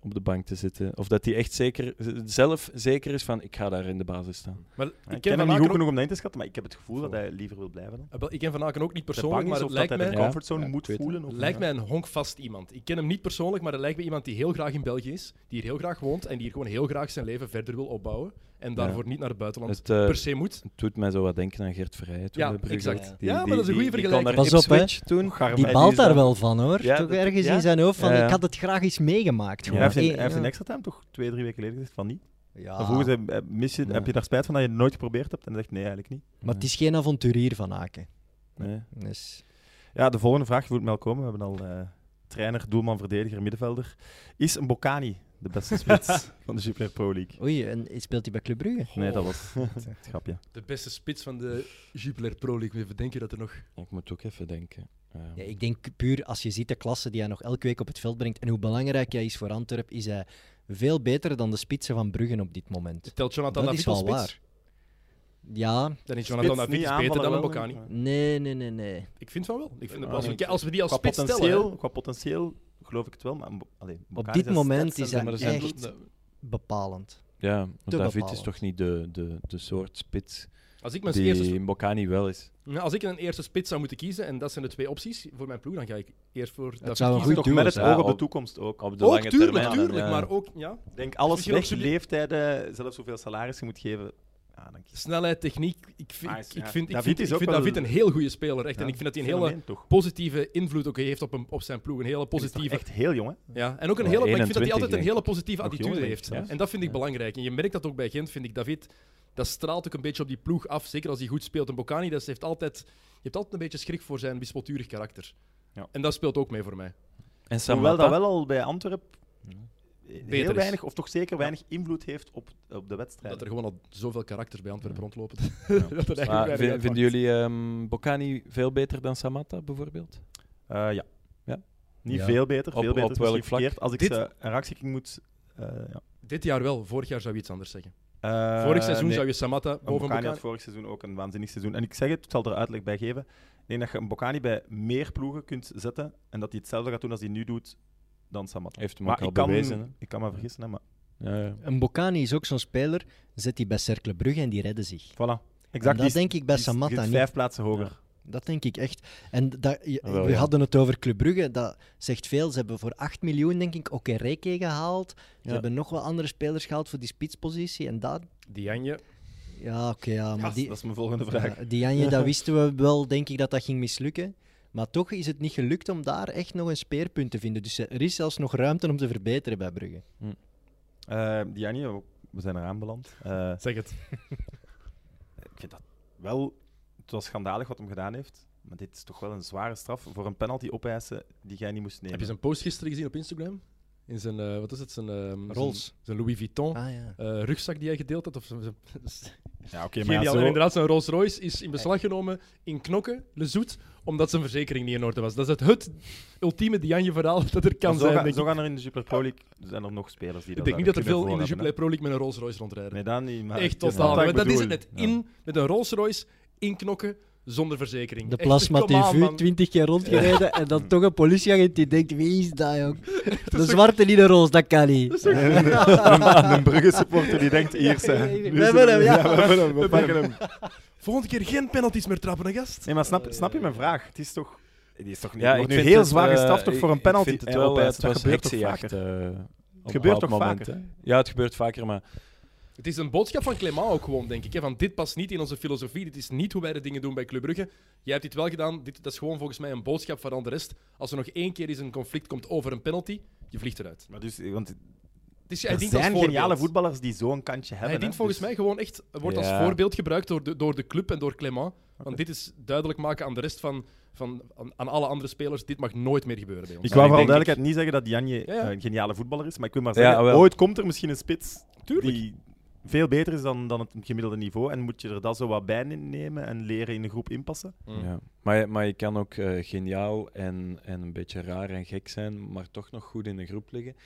op de bank te zitten? Of dat hij echt zeker, zelf zeker is van, ik ga daar in de basis staan.
Maar
Ik
ik, ken
ken hem
van
niet goed
Aken ook,
genoeg om dat in te schatten, maar ik heb het gevoel dat
Voor-
hij liever wil blijven dan.
Ah, wel, ik ken van Aken ook niet
Dat hij bang
persoonlijk,
is
maar het lijkt
of dat hij
mij,
de
mij-
comfortzone
Ja,
moet
ik weet het.
voelen. Of
lijkt mij een honkvast iemand. Ik ken hem niet persoonlijk, maar het lijkt me iemand die heel graag in België is, die hier heel graag woont en die hier gewoon heel graag zijn leven verder wil opbouwen en daarvoor niet naar het buitenland
Het, eh,
per se moet.
Het doet mij zo wat denken aan Gert Verheyen toen
Ja,
bij Brugge
exact.
was.
Ja, maar dat is een goede
die- die kon
vergelijking.
naar
Pas op, hè.
Ipswich Toen.
Garm-
En
Die
die
baalt
is
daar
dan-
wel van, hoor.
Ja,
Toch
dat-
ergens
ja.
in zijn hoofd van,
Ja, ja.
ik had het graag eens meegemaakt.
Hij
gewoon.
heeft in,
Eh,
hij heeft in
ja. Ah.
extra time toch twee, drie weken geleden gezegd van niet.
Ja.
Dan vroegen ze, eh, mis je,
Ja.
heb je daar spijt van dat je het nooit geprobeerd hebt? En hij zegt nee, eigenlijk niet.
Maar het is geen avonturier van Aken.
Nee.
Dus,
Ja, de volgende vraag voelt me al komen. We hebben al eh, trainer, doelman, verdediger, middenvelder. Is een Bocani de beste spits van de Jupiler Pro League?
oei, en speelt hij bij Club Brugge?
Oh.
Nee, dat was het grapje.
De beste spits van de Jupiler Pro League. Even denken dat er nog...
Ik moet ook even denken. Ja.
Ja, ik denk puur als je ziet de klasse die hij nog elke week op het veld brengt en hoe belangrijk hij is voor Antwerp, is hij veel beter dan de spitsen van Bruggen op dit moment.
Telt Jonathan
Dat
David
is
als
wel
spits?
waar. Ja,
Dan is Jonathan
Spits,
David
niet
beter dan
aanvallen,
een
wel.
Bocani.
nee, nee, nee, nee.
Ik vind van wel. Ik vind,
Ah,
als,
nee.
we, als we die als
Qua
spits stellen... hè.
potentieel, qua potentieel geloof ik het wel, maar een Bo- allee, Boccani
dit
zijn
moment
stats en
is
zijn
hij
er
zijn-
echt- Bepalend.
Ja, want David is
bepalend.
toch niet de, de, de soort spits
Als ik, mijn eerste,
die Bocani wel is.
Nou, als ik een eerste spits zou moeten kiezen, en dat zijn de twee opties voor mijn ploeg, dan ga ik eerst voor David
zou een
kiezen.
goed
Toch met het
duo
zijn.
oog op de
Ja,
toekomst ook.
Op de
Ook, Oh,
lange
tuurlijk,
termijn.
tuurlijk,
ja.
maar ook... Ja.
Ik denk alles
Misschien ook
weg,
zo-
leeftijden, zelfs hoeveel salaris je moet geven. Ja, dan kies
Snelheid, techniek. Ik vind,
Nice,
ik, ik
ja.
vind, ik
David
vind,
is
ik
ook
vind
wel-
David een heel goede speler. Echt.
Ja,
en ik vind dat hij een hele
fenomeen toch.
positieve invloed ook heeft op, een, op zijn ploeg. Een hele
Hij is toch
positieve.
Echt heel jong, hè?
Ja, en ook een
Ja,
hele, maar ik vind dat hij
21
altijd een
denk
hele positieve
Nog
attitude
jong,
heeft.
denk ik, ja.
En dat vind ik
Ja.
belangrijk. En je merkt dat ook bij Gent, vind ik. David, dat straalt ook een beetje op die ploeg af. Zeker als hij goed speelt. En Bocani, dat heeft altijd, je hebt altijd een beetje schrik voor zijn wispelturig karakter.
Ja.
En dat speelt ook mee voor mij.
En Samatta.
Hoewel dat wel al bij Antwerp
Hm. Beter
heel
is.
weinig, of toch zeker weinig invloed heeft op, op de wedstrijd.
Dat er gewoon al zoveel karakters bij Antwerpen rondlopen.
Ja.
dat er eigenlijk
Maar
weinig
vin-
uitmaakt.
vinden jullie ehm Bocani veel beter dan Samatta bijvoorbeeld?
Eh, ja.
Ja?
Niet
Ja.
veel beter.
Op-
veel beter
op
is misschien
welk vlak?
verkeerd. Als ik
Dit-
ze een rangschikking moet... eh, ja.
Dit jaar wel. Vorig jaar zou je iets anders zeggen.
Eh,
Vorig seizoen
nee,
zou je Samatta
een
boven
Bocani
Bocani...
had vorig seizoen ook een waanzinnig seizoen. En ik zeg het, ik zal er uitleg bij geven. Ik denk dat je een Bocani bij meer ploegen kunt zetten en dat hij hetzelfde gaat doen als hij nu doet dan Samatta.
Heeft hem
Maar
ook al
ik kan,
bewezen. hè?
ik kan me vergissen, hè, maar
Ja, ja.
Een Bocani is ook zo'n speler, zet die bij Cercle Brugge en die redden zich.
voilà.
En
Exact,
dat denk ik bij
die is- die
Samatta
zit
niet.
vijf plaatsen hoger.
Dat denk ik echt. En dat, je-
Ah, wel,
we
ja.
hadden het over Club Brugge, dat zegt veel. Ze hebben voor 8 miljoen, denk ik, ook een Reke gehaald. Ze
Ja.
hebben nog wel andere spelers gehaald voor die spitspositie. En dat,
Diagne.
ja, oké, ja, maar
Gast,
die,
dat is mijn volgende vraag.
Ja, die Janje, Eh, dat wisten we wel, denk ik, dat dat ging mislukken. Maar toch is het niet gelukt om daar echt nog een speerpunt te vinden. Dus er is zelfs nog ruimte om te verbeteren bij Brugge.
Eh Diani, we- we zijn eraan beland. Eh,
Zeg het.
ik vind dat wel... Het was schandalig wat hem gedaan heeft. Maar dit is toch wel een zware straf voor een penalty opeisen die jij niet moest nemen.
Heb je zijn post gisteren gezien op Instagram? In zijn, eh, wat is het, zijn, ehm, zijn-
Rolls.
Zijn Louis Vuitton
Ah ja.
eh, rugzak die hij gedeeld had? Of zijn, zijn-
Ja, oké, maar ja,
Geniaal.
zo-
En inderdaad, zijn Rolls Royce is in beslag genomen in Knokken, Le Zoet, omdat zijn verzekering niet in orde was. Dat is het, het ultieme Diagne-verhaal dat er kan
Maar zo,
zijn.
gaan-
denk
zo
ik.
gaan er in de Super Pro League zijn er nog spelers die
ik denk niet dat er veel in de Jupiler Pro League met een Rolls Royce rondrijden.
Nee, dat niet. Maar
Echt
het is
totaal.
wat
Maar
ik
dat is het
bedoel.
net.
Ja.
In met een Rolls Royce, in Knokken, zonder verzekering.
De
Echt,
plasma
come on,
TV
man.
20 keer rondgereden en dan toch een politieagent die denkt: wie is dat, jong? De
toch-
zwarte niet de roos, dat kan niet.
Een, een Brugge supporter die denkt, hier zijn.
We
nu is
hebben hem, ja.
We hebben hem, we pakken hem.
Volgende keer geen penalties meer trappen, hè, gast.
Nee, maar snap, snap je mijn vraag? Het is toch... Die is toch niet,
Ja,
ja,
ik
nu
vind
heel
het,
zwaar
eh,
gestraft toch
ik-
voor een
ik
penalty
vind het wel, eh,
opeisen.
het was
Dat gebeurt toch
heksenjacht,
vaker?
eh, op een
gebeurt
bepaald
toch
moment,
vaker?
hè? Ja, het gebeurt vaker, maar
Het is een boodschap van Clément ook gewoon, denk ik. Hè? Van dit past niet in onze filosofie. Dit is niet hoe wij de dingen doen bij Club Brugge. Jij hebt dit wel gedaan. Dit, dat is gewoon volgens mij een boodschap van aan de rest. Als er nog één keer eens een conflict komt over een penalty, je vliegt eruit.
Maar dus, want
Het is, hij
er
dient als
zijn
voorbeeld.
geniale voetballers die zo'n kantje hebben.
Hij dient
hè,
volgens
dus-
mij gewoon echt, wordt
Ja.
als voorbeeld gebruikt door de, door de club en door Clément. Want
Oké.
dit is duidelijk maken aan de rest van, van aan, aan alle andere spelers. Dit mag nooit meer gebeuren bij ons.
Ik wou
ik
vooral
denk
duidelijkheid niet zeggen dat Janje
Ja, ja.
eh, een geniale voetballer is, maar ik wil maar
Ja,
zeggen,
wel.
ooit komt er misschien een spits
Tuurlijk.
die veel beter is dan, dan het gemiddelde niveau. En moet je er dat zo wat bij nemen en leren in de groep inpassen.
Ja. Maar, je- maar je kan ook eh, geniaal en, en een beetje raar en gek zijn, maar toch nog goed in de groep liggen.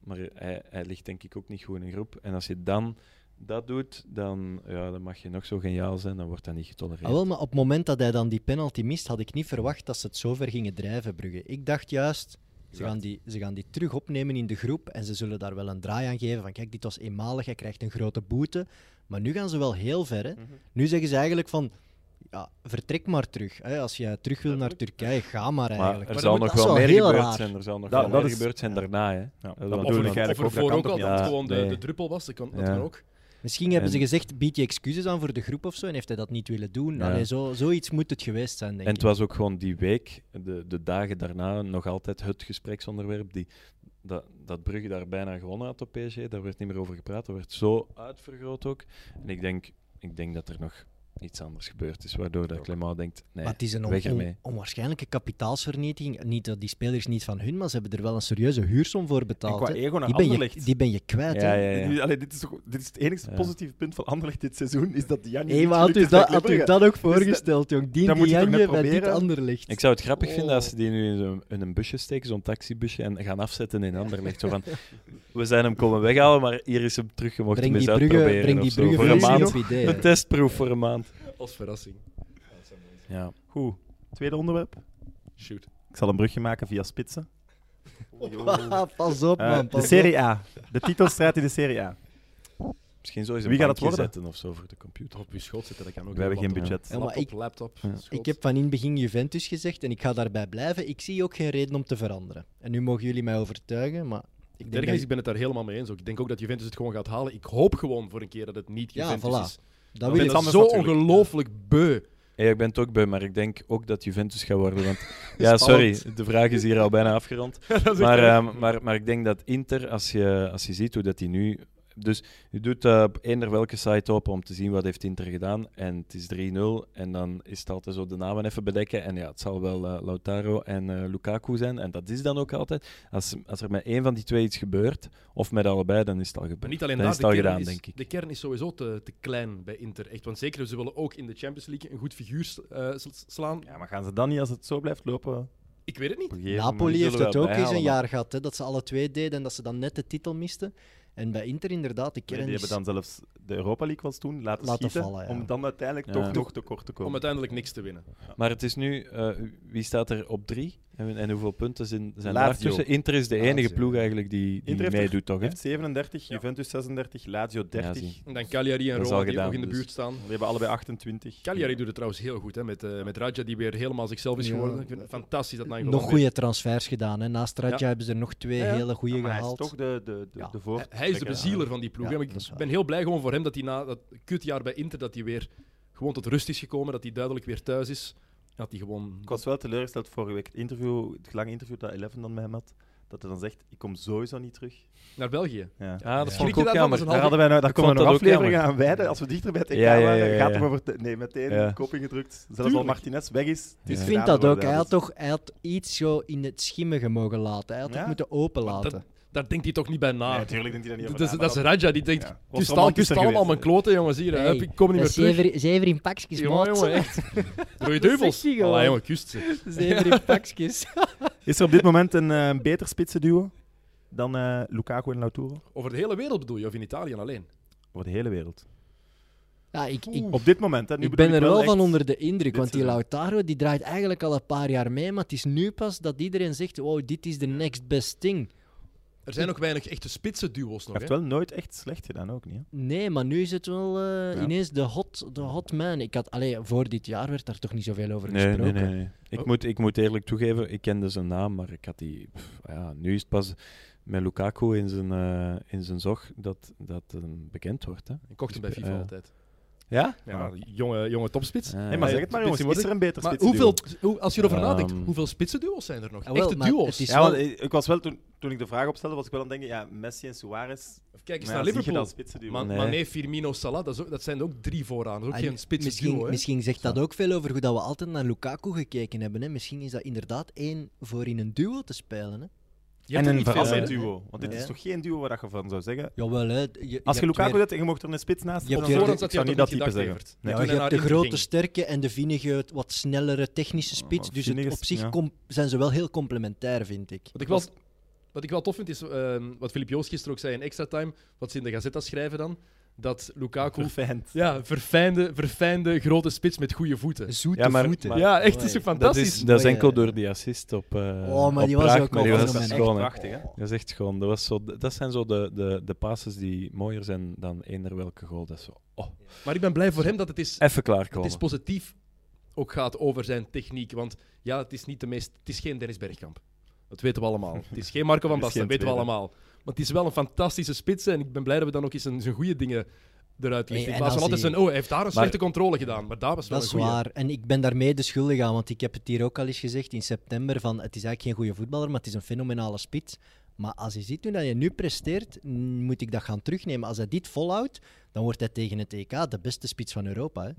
Maar hij, hij ligt denk ik ook niet goed in de groep. En als je dan dat doet, dan, ja, dan mag je nog zo geniaal zijn, dan wordt dat niet getolereerd.
Ah, wel, maar op het moment dat hij dan die penalty mist, had ik niet verwacht dat ze het zo ver gingen drijven, Brugge. Ik dacht juist, ze
Ja.
gaan, die, ze gaan die terug opnemen in de groep en ze zullen daar wel een draai aan geven van kijk, dit was eenmalig, hij krijgt een grote boete. Maar nu gaan ze wel heel ver. Hè. Nu zeggen ze eigenlijk van, ja, vertrek maar terug. Hè. Als je terug wil naar Turkije, ga maar
maar
eigenlijk.
er
Maar
zal
dan
moet-
nog
dat is
wel
wel
meer
heel
gebeurd
raar.
zijn. Er zal nog
Dat-
wel
dat
meer
is-
gebeurd zijn daarna. Hè.
Ja,
dat
dat
bedoel
bedoel
ik
ik
Of
eigenlijk ook.
ervoor
Dat
ook,
kan
al
toch
dat
niet
ja.
het
anders?
gewoon de,
nee.
de druppel was. Dat kan, dat
Ja.
kan ook.
Misschien hebben
En-
ze gezegd, bied je excuses aan voor de groep of zo en heeft hij dat niet willen doen.
Ja.
Allee, zo, zoiets moet het geweest zijn, denk
En
ik.
het was ook gewoon die week, de, de dagen daarna, nog altijd het gespreksonderwerp. Die, dat, dat Brugge daar bijna gewonnen had op PSG, daar werd niet meer over gepraat. Dat werd zo uitvergroot ook. En ik denk, ik denk dat er nog iets anders gebeurd is, waardoor dat Clément denkt, nee,
maar het is een on-
weg
on-
ermee.
onwaarschijnlijke kapitaalsvernietiging. Niet dat die spelers niet van hun, maar ze hebben er wel een serieuze huursom voor
En
betaald.
qua
hè.
ego naar
Die, ben je,
Anderlecht.
die ben je kwijt.
Ja,
hè.
ja, ja.
Nu, allee, dit, is toch- dit is het enige
Ja.
positieve punt van Anderlecht dit seizoen, is dat Janje
Hé, maar had u, dat, had u dat ook voorgesteld, jong? Die
dat moet je toch
Dianje
net
bij dit
proberen?
ander ligt.
Ik zou het grappig vinden
Oh.
als ze die nu in zo'n- in een busje steken, zo'n taxibusje, en gaan afzetten in Anderlecht. Zo van, we zijn hem komen weghalen, maar hier is hem terug gemocht.
breng
hem
die
eens
bruggen,
uitproberen
breng
of
die
zo,
bruggen
voor een
voor
maand.
op idee.
Een testproef voor een maand.
Als verrassing.
Ja.
Goed, tweede onderwerp.
Shoot.
Ik zal een brugje maken via spitsen.
Haha, Pas op,
Eh,
man.
de
pas op.
Serie A. De titelstrijd in de Serie A.
Misschien zo eens een
Wie gaat het
bankje
worden?
zetten of zo voor de computer.
Op je schoot zitten, dat kan ook.
We hebben geen
Laptop,
budget.
Ja, maar ik-
Laptop, laptop,
Ja.
schot.
Ik heb van in het begin Juventus gezegd en ik ga daarbij blijven. Ik zie ook geen reden om te veranderen. En nu mogen jullie mij overtuigen, maar ik denk
Ergens,
dat,
ik ben het daar helemaal mee eens. Ook. Ik denk ook dat Juventus het gewoon gaat halen. Ik hoop gewoon voor een keer dat het niet
Ja,
Juventus
voilà.
is.
dat
ik
wil
ben
ik.
iets
dat
anders
zo
natuurlijk.
ongelooflijk beu.
Ja, ik ben het ook bij, maar ik denk ook dat Juventus gaat worden. Want, ja, sorry, de vraag is hier al bijna afgerond. Maar, ehm, maar, maar ik denk dat Inter, als je, als je ziet hoe dat die nu... Dus je doet eh, op eender welke site op om te zien wat heeft Inter gedaan. En het is 3-0. En dan is het altijd zo de namen even bedekken. En ja, het zal wel eh, Lautaro en eh, Lukaku zijn. En dat is dan ook altijd. Als, als er met één van die twee iets gebeurt, of met allebei, dan is het al gebeurd.
Maar niet alleen
dan
daar,
is
de
het al
kern,
gedaan,
is,
denk ik.
de kern is sowieso te, te klein bij Inter. Echt. Want zeker, ze willen ook in de Champions League een goed figuur s- eh, s- slaan.
Ja, maar gaan ze dan niet, als het zo blijft lopen...
Ik weet het niet.
Napoli
die
heeft
zullen
het
wel
ook eens een
bijhalen,
jaar gehad, hè, dat ze alle twee deden en dat ze dan net de titel misten. En bij Inter inderdaad, de
Nee,
kern
die
is...
hebben dan zelfs de Europa League was toen laten,
Laten
schieten,
vallen, ja.
om dan uiteindelijk
Ja.
toch nog te kort te
Om
komen.
uiteindelijk niks te winnen.
Maar het is nu, eh, wie staat er op drie? En, en hoeveel punten zijn, zijn
Lazio.
daar tussen? Inter is de
Ah,
Lazio.
enige ploeg eigenlijk die,
Inter
die
heeft
meedoet, toch? Hè?
heeft 37, Juventus 36, Lazio 30.
zie.
En dan Cagliari en
Dat is
Roma
al
die
gedaan,
nog in de
dus.
buurt staan.
Die hebben allebei 28.
Cagliari doet het trouwens heel goed, hè, met, eh met Raja die weer helemaal zichzelf is
Ja.
geworden. Ik vind het fantastisch dat Nangolo
nog
weer-
goede transfers gedaan. Hè. Naast Radja
Ja.
hebben ze er nog twee
Ja, ja.
hele goede
maar hij is
gehaald.
toch de, de, de,
Ja.
de voor-
Hij- Hij is de bezieler van die ploeg.
eh, Ja,
hè, maar
dat is
ik
waar.
ben heel blij gewoon voor hem dat hij na dat kutjaar bij Inter dat hij weer gewoon tot rust is gekomen, dat hij duidelijk weer thuis is. En Dat hij gewoon
Ik was wel teleurgesteld vorige week. Het, interview, het lange interview dat Eleven dan met hem had. Dat hij dan zegt, ik kom sowieso niet terug.
naar België.
Ja.
Ah, dat
Ja.
vond
Schrik
ik
je
ook
daarvan? Dat is een
Daar,
jammer.
halve-
hadden wij nou, daar komen we
vond
nog
dat ook
afleveringen aan wijden. Als we dichter bij het EK
Ja, ja, ja,
waren, gaat het
ja.
over... te- Nee, meteen
Ja.
de kop ingedrukt. Zelfs al
Tuurlijk.
Martinez weg is. het is
Ik
Ik
Ja.
vind
gedaan
dat
voor
ook.
de
Hij had,
Duitsers.
toch, hij had iets zo in het schimmige mogen laten. Hij had het
Ja.
moeten openlaten.
Maar Daar denkt hij toch niet bij
Ah.
na.
Nee, natuurlijk denkt hij dat niet
dat,
over
is,
na,
dat is
maar
Raja die denkt:
Ja. Was
kust, al,
romantischer
kust allemaal
geweest,
mijn
hè.
kloten, jongen. Hier,
Hey,
hup, ik kom niet meer
dat
terug.
zeven- Zeven in pakjes,
Jongen,
maat.
jongen, echt. Rode
zegt
duivels.
hij gewoon.
Allee, jongen, kust ze.
Zeven in pakjes.
Is er op dit moment een eh, beter spitsen duo dan eh, Lukaku en Lautaro?
Over de hele wereld bedoel je, of in Italië alleen?
Voor de hele wereld.
Ja, ik, ik,
Op dit moment, hè. Nu
ik
bedoel
ben er wel
echt-
van onder de indruk.
dit
Want die
seizoen.
Lautaro die draait eigenlijk al een paar jaar mee. Maar het is nu pas dat iedereen zegt: wow, dit is de next best thing.
Er zijn ook weinig echte spitse duo's
Hij
nog.
heeft
hè.
wel nooit echt slecht gedaan, ook niet. hè?
Nee, maar nu is het wel eh,
Ja.
ineens de hot, de hot man. Ik had, allee, voor dit jaar werd daar toch niet zoveel over
Nee, nee,
gesproken.
nee. nee. Ik,
Oh.
moet, ik moet eerlijk toegeven, ik kende zijn naam, maar ik had die... pff, ja, nu is het pas met Lukaku in zijn, eh, in zijn zog dat dat eh, bekend wordt. Hè?
Ik kocht hem bij FIFA
Ja.
altijd.
Ja?
Ja, jonge, jonge topspits.
Ah.
Nee, Ah. maar
ja,
zeg het maar, jongens.
spitsen
Is er een beter
Maar
spitsen
hoeveel, hoe- als je erover
Ehm.
nadenkt, hoeveel spitsenduo's zijn er nog?
Ah, wel,
Echte
maar
duo's.
het is
Ja, want
wel-
ik ik was wel toen, toen ik de vraag opstelde, was ik wel aan het denken, ja, Messi en Suarez.
Of Kijk eens naar
maar ja, zie je
Liverpool.
dat spitsen duo?
Man,
Nee.
Mané, Firmino, Salah, dat, is ook- dat zijn er ook drie vooraan. Dat is ook
Ah,
geen spitsenduo.
misschien,
hè.
misschien zegt dat ook veel over hoe dat we altijd naar Lukaku gekeken hebben. Hè? Misschien is dat inderdaad één voor in een duo te spelen. Hè?
Je
En
hebt er
een
niet veel
verrassend
mee, hè?
duo. Want dit
Ja.
is toch geen duo waar je van zou zeggen.
Jawel, hè. Je,
Als je Lukaku
hebt
zet en je mocht er een spits naast
Je hebt
zetten,
weer-
dan
Voorhand had
zou ik- ik zou
hij
niet
dat
dat
ook niet gedacht,
type zeggen.
Evert.
Nee.
ja,
toen
je
hij
hebt de
naar Inter
grote,
ging.
sterke en de vinnige, wat snellere technische spits.
maar
dus het
vinnig is-
op zich
ja.
com- zijn ze wel heel complementair, vind ik.
Wat ik, wel, wat ik wel tof vind is, ehm, wat Filip Joost gisteren ook zei in Extra Time, wat ze in de Gazetta schrijven dan, dat Lukaku...
Verfijnd.
Ja, verfijnde, verfijnde grote spits met goede voeten.
Zoete
Ja, maar-
voeten.
maar-
ja, echt, dat is
Mooi.
toch
Dat
fantastisch?
is, dat is
Mooie-
enkel door die assist op. eh
Oh, maar
op
die was
Praag,
ook
maar
al
die was
fenomenaal.
schoon, hè.
Echt prachtig, hè?
Dat is echt gewoon. Dat, was zo, dat zijn zo de, de, de passes die mooier zijn dan eender welke goal. Dat is zo. Oh,
Maar ik ben blij voor hem dat het is,
even
het
klaarkomen.
is positief ook gaat over zijn techniek. Want ja, het is, niet de meest, het is geen Dennis Bergkamp. Dat weten we allemaal. Het is geen Marco van
Het is
Basten, dat weten
geen
we
tweede.
allemaal. Maar het is wel een fantastische spits en ik ben blij dat we dan ook eens zijn zijn goede dingen eruit lichten.
Hey,
In
en
plaats van
als
altijd
hij-
zijn, oh, hij heeft daar een slechte controle gedaan. Maar daar was wel
Dat is
een goeie.
waar. En ik ben daarmee de schuldig aan, want ik heb het hier ook al eens gezegd in september: van het is eigenlijk geen goede voetballer, maar het is een fenomenale spits. Maar als je ziet hoe dat je nu presteert, mm, moet ik dat gaan terugnemen. Als hij dit volhoudt, dan wordt hij tegen het EK de beste spits van Europa. Hè?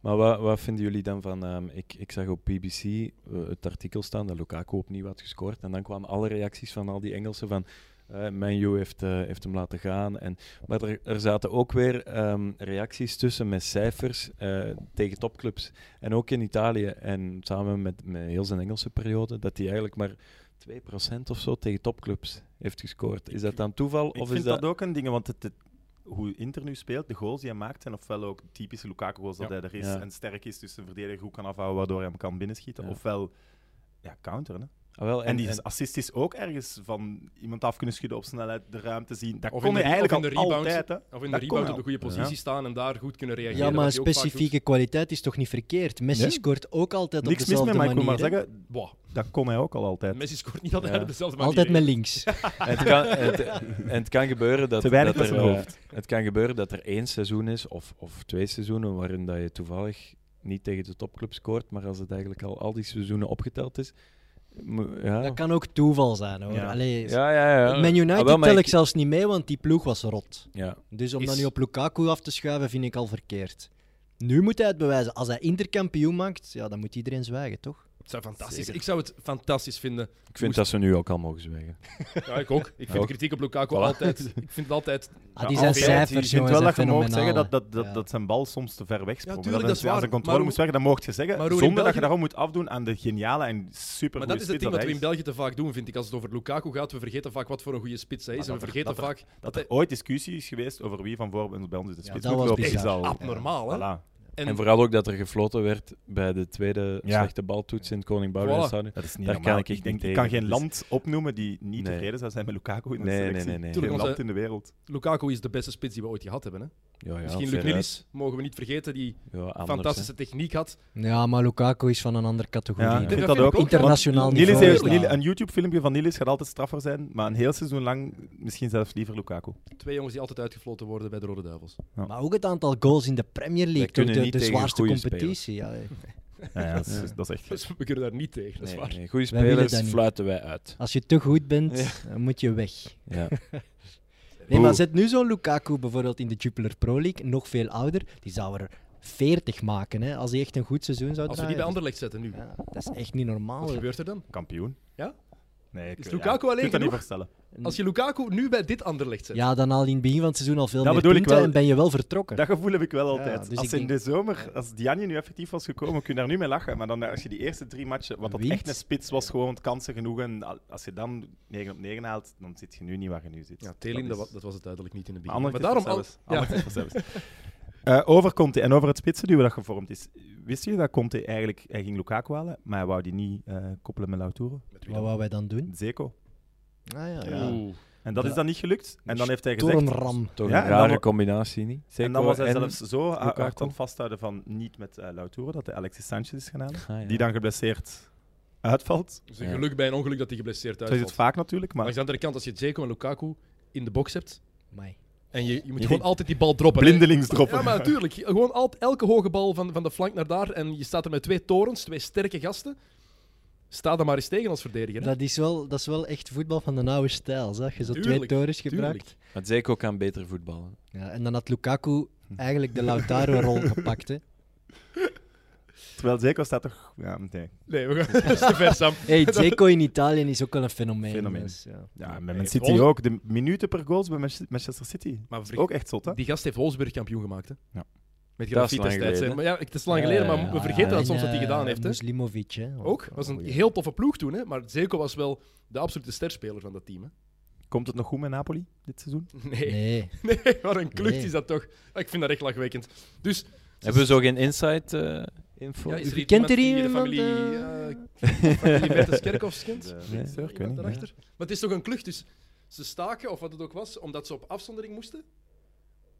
Maar wat, wat vinden jullie dan van... ehm, ik, ik zag op BBC eh, het artikel staan dat Lukaku opnieuw had gescoord. En dan kwamen alle reacties van al die Engelsen van... eh Manu heeft, eh, heeft hem laten gaan. En, maar er, er zaten ook weer ehm, reacties tussen met cijfers eh, tegen topclubs. En ook in Italië. En samen met, met heel zijn Engelse periode, dat hij eigenlijk maar 2% of zo tegen topclubs heeft gescoord. Is dat dan toeval?
Ik
of
vind
is dat...
dat ook een ding, want het, het- hoe Inter nu speelt, de goals die hij maakt, zijn ofwel ook typische Lukaku-goals dat
Ja.
hij er is
Ja.
en sterk is, dus een verdediger goed kan afhouden, waardoor hij hem kan binnenschieten,
Ja.
ofwel ja, counteren. Hè.
Ah, wel,
En, die assist is ook ergens van iemand af kunnen schudden op snelheid, de ruimte zien. Dat
Of
kon
in de
hij
re-
eigenlijk
of in de
al
rebound.
altijd. Hè.
Of in de
Dat kon
rebound
wel.
op de goede positie
Ja.
staan en daar goed kunnen reageren.
Ja, maar een
wat hij ook vaak
specifieke kwaliteit is toch niet verkeerd? Messi
Nee.
scoort ook altijd op
Niks mis
dezelfde
mee, maar ik wil maar
manier. hè?
zeggen,
doet. Wow,
dat kon hij ook al altijd.
Messi scoort niet altijd
Ja.
op dezelfde manier.
Altijd met
hè.
links.
En het, kan, het, en het kan gebeuren dat,
Te weinig
dat
met
er,
zijn
eh,
hoofd.
het kan gebeuren dat er één seizoen is of, of twee seizoenen waarin dat je toevallig niet tegen de topclub scoort, maar als het eigenlijk al al die seizoenen opgeteld is, mo- ja.
Dat kan ook toeval zijn hoor.
Ja.
Allee,
ja, ja, ja.
Man
Ah,
United
wel, maar
tel ik zelfs niet mee, want die ploeg was rot.
Ja.
Dus om
Is-
dat nu op Lukaku af te schuiven, vind ik al verkeerd. Nu moet hij het bewijzen. Als hij interkampioen maakt, ja, dan moet iedereen zwijgen, toch?
Het zou fantastisch.
Zeker.
Ik zou het fantastisch vinden.
Ik vind dat ze nu ook al mogen zwijgen.
Ja, ik ook. Ik vind
Ook.
de kritiek op Lukaku
Voilà.
altijd. Ik vind het altijd.
Ah,
Ja,
die zijn
oké.
Ik
cijfers,
vind
jongens,
wel dat je
zijn
mocht zeggen dat,
fenomenaal.
dat, dat,
Ja.
dat zijn bal soms te ver weg sprong.
Ja, tuurlijk, dat is
hij aan
waar.
zijn
Maar
controle
hoe-
moest werken, dat mocht je zeggen.
maar hoe in
zonder dat
België-
je daarom moet afdoen aan de geniale en super
Maar dat is het ding wat we in België te vaak doen, vind ik. Als het over Lukaku gaat, we vergeten vaak wat voor een goede spits hij is.
Maar
en we
dat er-
vergeten vaak
Dat
dat
er
hij
ooit discussie is geweest over wie van voor bij ons is de
Ja,
spits
dat
moet
was
lopen,
bizar.
is al...
abnormaal hè.
oh, Voilà.
En,
En,
vooral ook dat er gefloten werd bij de tweede
Ja.
slechte baltoets in het Koning Boudewijn
Voilà.
Stadion.
Dat is niet
Daar
normaal.
kan ik echt
denk,
niet
ik kan
tegen.
geen
Dus-
land opnoemen die niet
Nee.
tevreden zou zijn met Lukaku in de
Nee, nee,
selectie.
nee, nee.
Geen
Tuurlijk, onze-
land in de wereld.
Lukaku is de beste spits die we ooit gehad hebben. Hè?
Ja, ja,
Misschien Luc
veruit.
Nilis, mogen we niet vergeten, die
Ja, anders,
fantastische techniek had.
Ja, maar Lukaku is van een andere categorie.
Ja,
hè.
ik vind
dat
dat
vind
ook.
ik ook.
Internationaal
Want
niveau
Nilis
is
heeft-
dat.
Nilis- Een YouTube-filmpje van Nilis gaat altijd straffer zijn, maar een heel seizoen lang misschien zelfs liever Lukaku.
Twee jongens die altijd uitgefloten worden bij de Rode Duivels.
Maar ook het aantal goals in de Premier League, toch
kunnen
de,
niet
de
tegen
zwaarste
goede
competitie. Ja, hè.
Ja, ja, dat, is, dat is echt...
Dus we kunnen daar niet tegen, dat
Nee,
is waar.
nee, goede
Wij willen
spelers
dat niet.
fluiten wij uit.
Als je te goed bent, dan moet je weg.
Ja.
Nee,
Oeh.
maar zet nu zo'n Lukaku bijvoorbeeld in de Jupiler Pro League, nog veel ouder, die zou er 40 maken hè, als hij echt een goed seizoen zou
Als we die bij
draaien.
Anderlecht zetten nu,
Ja, dat is echt niet normaal.
wat
hè.
gebeurt er dan?
Kampioen.
Ja?
Nee, ik
Is
ja,
Lukaku
ik kan
alleen
het dat niet
genoeg?
voorstellen.
Als je Lukaku nu bij dit Anderlecht
Dus-
zet,
Mm. Ja, dan al in het begin van het seizoen al veel
Dat
meer
bedoel ik
punten
wel.
en ben je wel vertrokken.
Dat gevoel heb ik wel
Ja,
altijd.
dus
als
ik
in
denk-
de zomer, als Dianje nu effectief was gekomen, kun je daar nu mee lachen. Maar dan als je die eerste drie matchen, wat dat
Wint.
echt een spits was, gewoon want kansen genoeg. En al- als je dan 9 op 9 haalt, dan zit je nu niet waar je nu zit.
ja, Telin, dat,
is-
wa- dat was het duidelijk niet in het
Maar
begin.
Anderlecht
Maar
is
daarom... al-
vanzelfs.
Ja,
Anderlecht is vanzelfs. Eh, over Conte en over het spitsenduo dat gevormd is. Wist je dat Conte eigenlijk... Hij ging Lukaku halen, maar hij wou die niet eh, koppelen met Lautaro.
met wie
Wat
dan?
wou wij dan doen?
Zeko.
Ah, ja, ja.
Oeh.
En dat
Ja.
is dan niet gelukt. En dan heeft hij
Door
gezegd...
een ram.
Toch
Ja,
een
en dan
rare
wa-
combinatie, niet?
en dan was hij
Zeko en-
zelfs zo ha-
Lukaku.
hard aan het vasthouden van niet met eh Lautaro, dat hij Alexis Sanchez is gaan halen.
Ah, ja.
Die dan geblesseerd uitvalt.
Het is een
Ja.
geluk bij een ongeluk dat hij geblesseerd
Zo is het
uitvalt.
vaak natuurlijk,
Maar
maar
aan de andere kant, als je Dzeko en Lukaku in de box hebt,
Amai.
En je, je moet
Je
gewoon altijd die bal droppen.
blindelings
hè.
droppen.
Ja, maar natuurlijk. Gewoon al, elke hoge bal van, van de flank naar daar. En je staat er met twee torens, twee sterke gasten. Sta daar maar eens tegen als verdediger. hè.
Dat is, wel, dat is wel echt voetbal van de oude stijl, zeg. Je zo twee
Tuurlijk,
torens
tuurlijk.
gebruikt.
Maar Zeko kan beter voetballen.
Ja, en dan had Lukaku eigenlijk de Lautaro-rol gepakt. Hè.
Terwijl Zeko staat toch... Ja, nee.
Nee, we gaan dat is te ver, Sam.
Hey, Zeko in Italië is ook wel een fenomeen.
Fenomeen.
dus, ja.
Ja,
Nee,
met Man City
Wolves-
ook. De minuten per goals bij Manche- Manchester City.
Maar
Dat is
vriend,
ook echt zot, hè?
die gast heeft Wolfsburg kampioen gemaakt. Hè?
Ja.
Met
Dat
grafiet
is lang
destijds. hè.
geleden,
Maar ja, het is lang
Ja,
geleden,
ja,
maar
ja.
we vergeten dat soms
En,
wat hij
eh,
gedaan heeft. Hè?
Muslimovic, hè.
Ook. was een
goeie.
heel toffe ploeg toen, hè? maar Zeko was wel de absolute sterspeler van dat team. Hè?
Komt het nog goed met Napoli dit seizoen?
Nee. nee.
Nee.
wat een klucht
Nee.
is dat toch. Ah, Ik vind dat echt lachwekkend. Dus,
Hebben we zo geen insight eh, info?
ja, is er
Kent
iemand
er
die de
iemand,
familie,
eh?
eh, familie Bertens Kerkhoffs kent?
Nee,
Nee.
sir, ik weet
Iemand
niet.
daarachter? Maar het is toch een klucht, dus ze staken, of wat het ook was, omdat ze op afzondering moesten.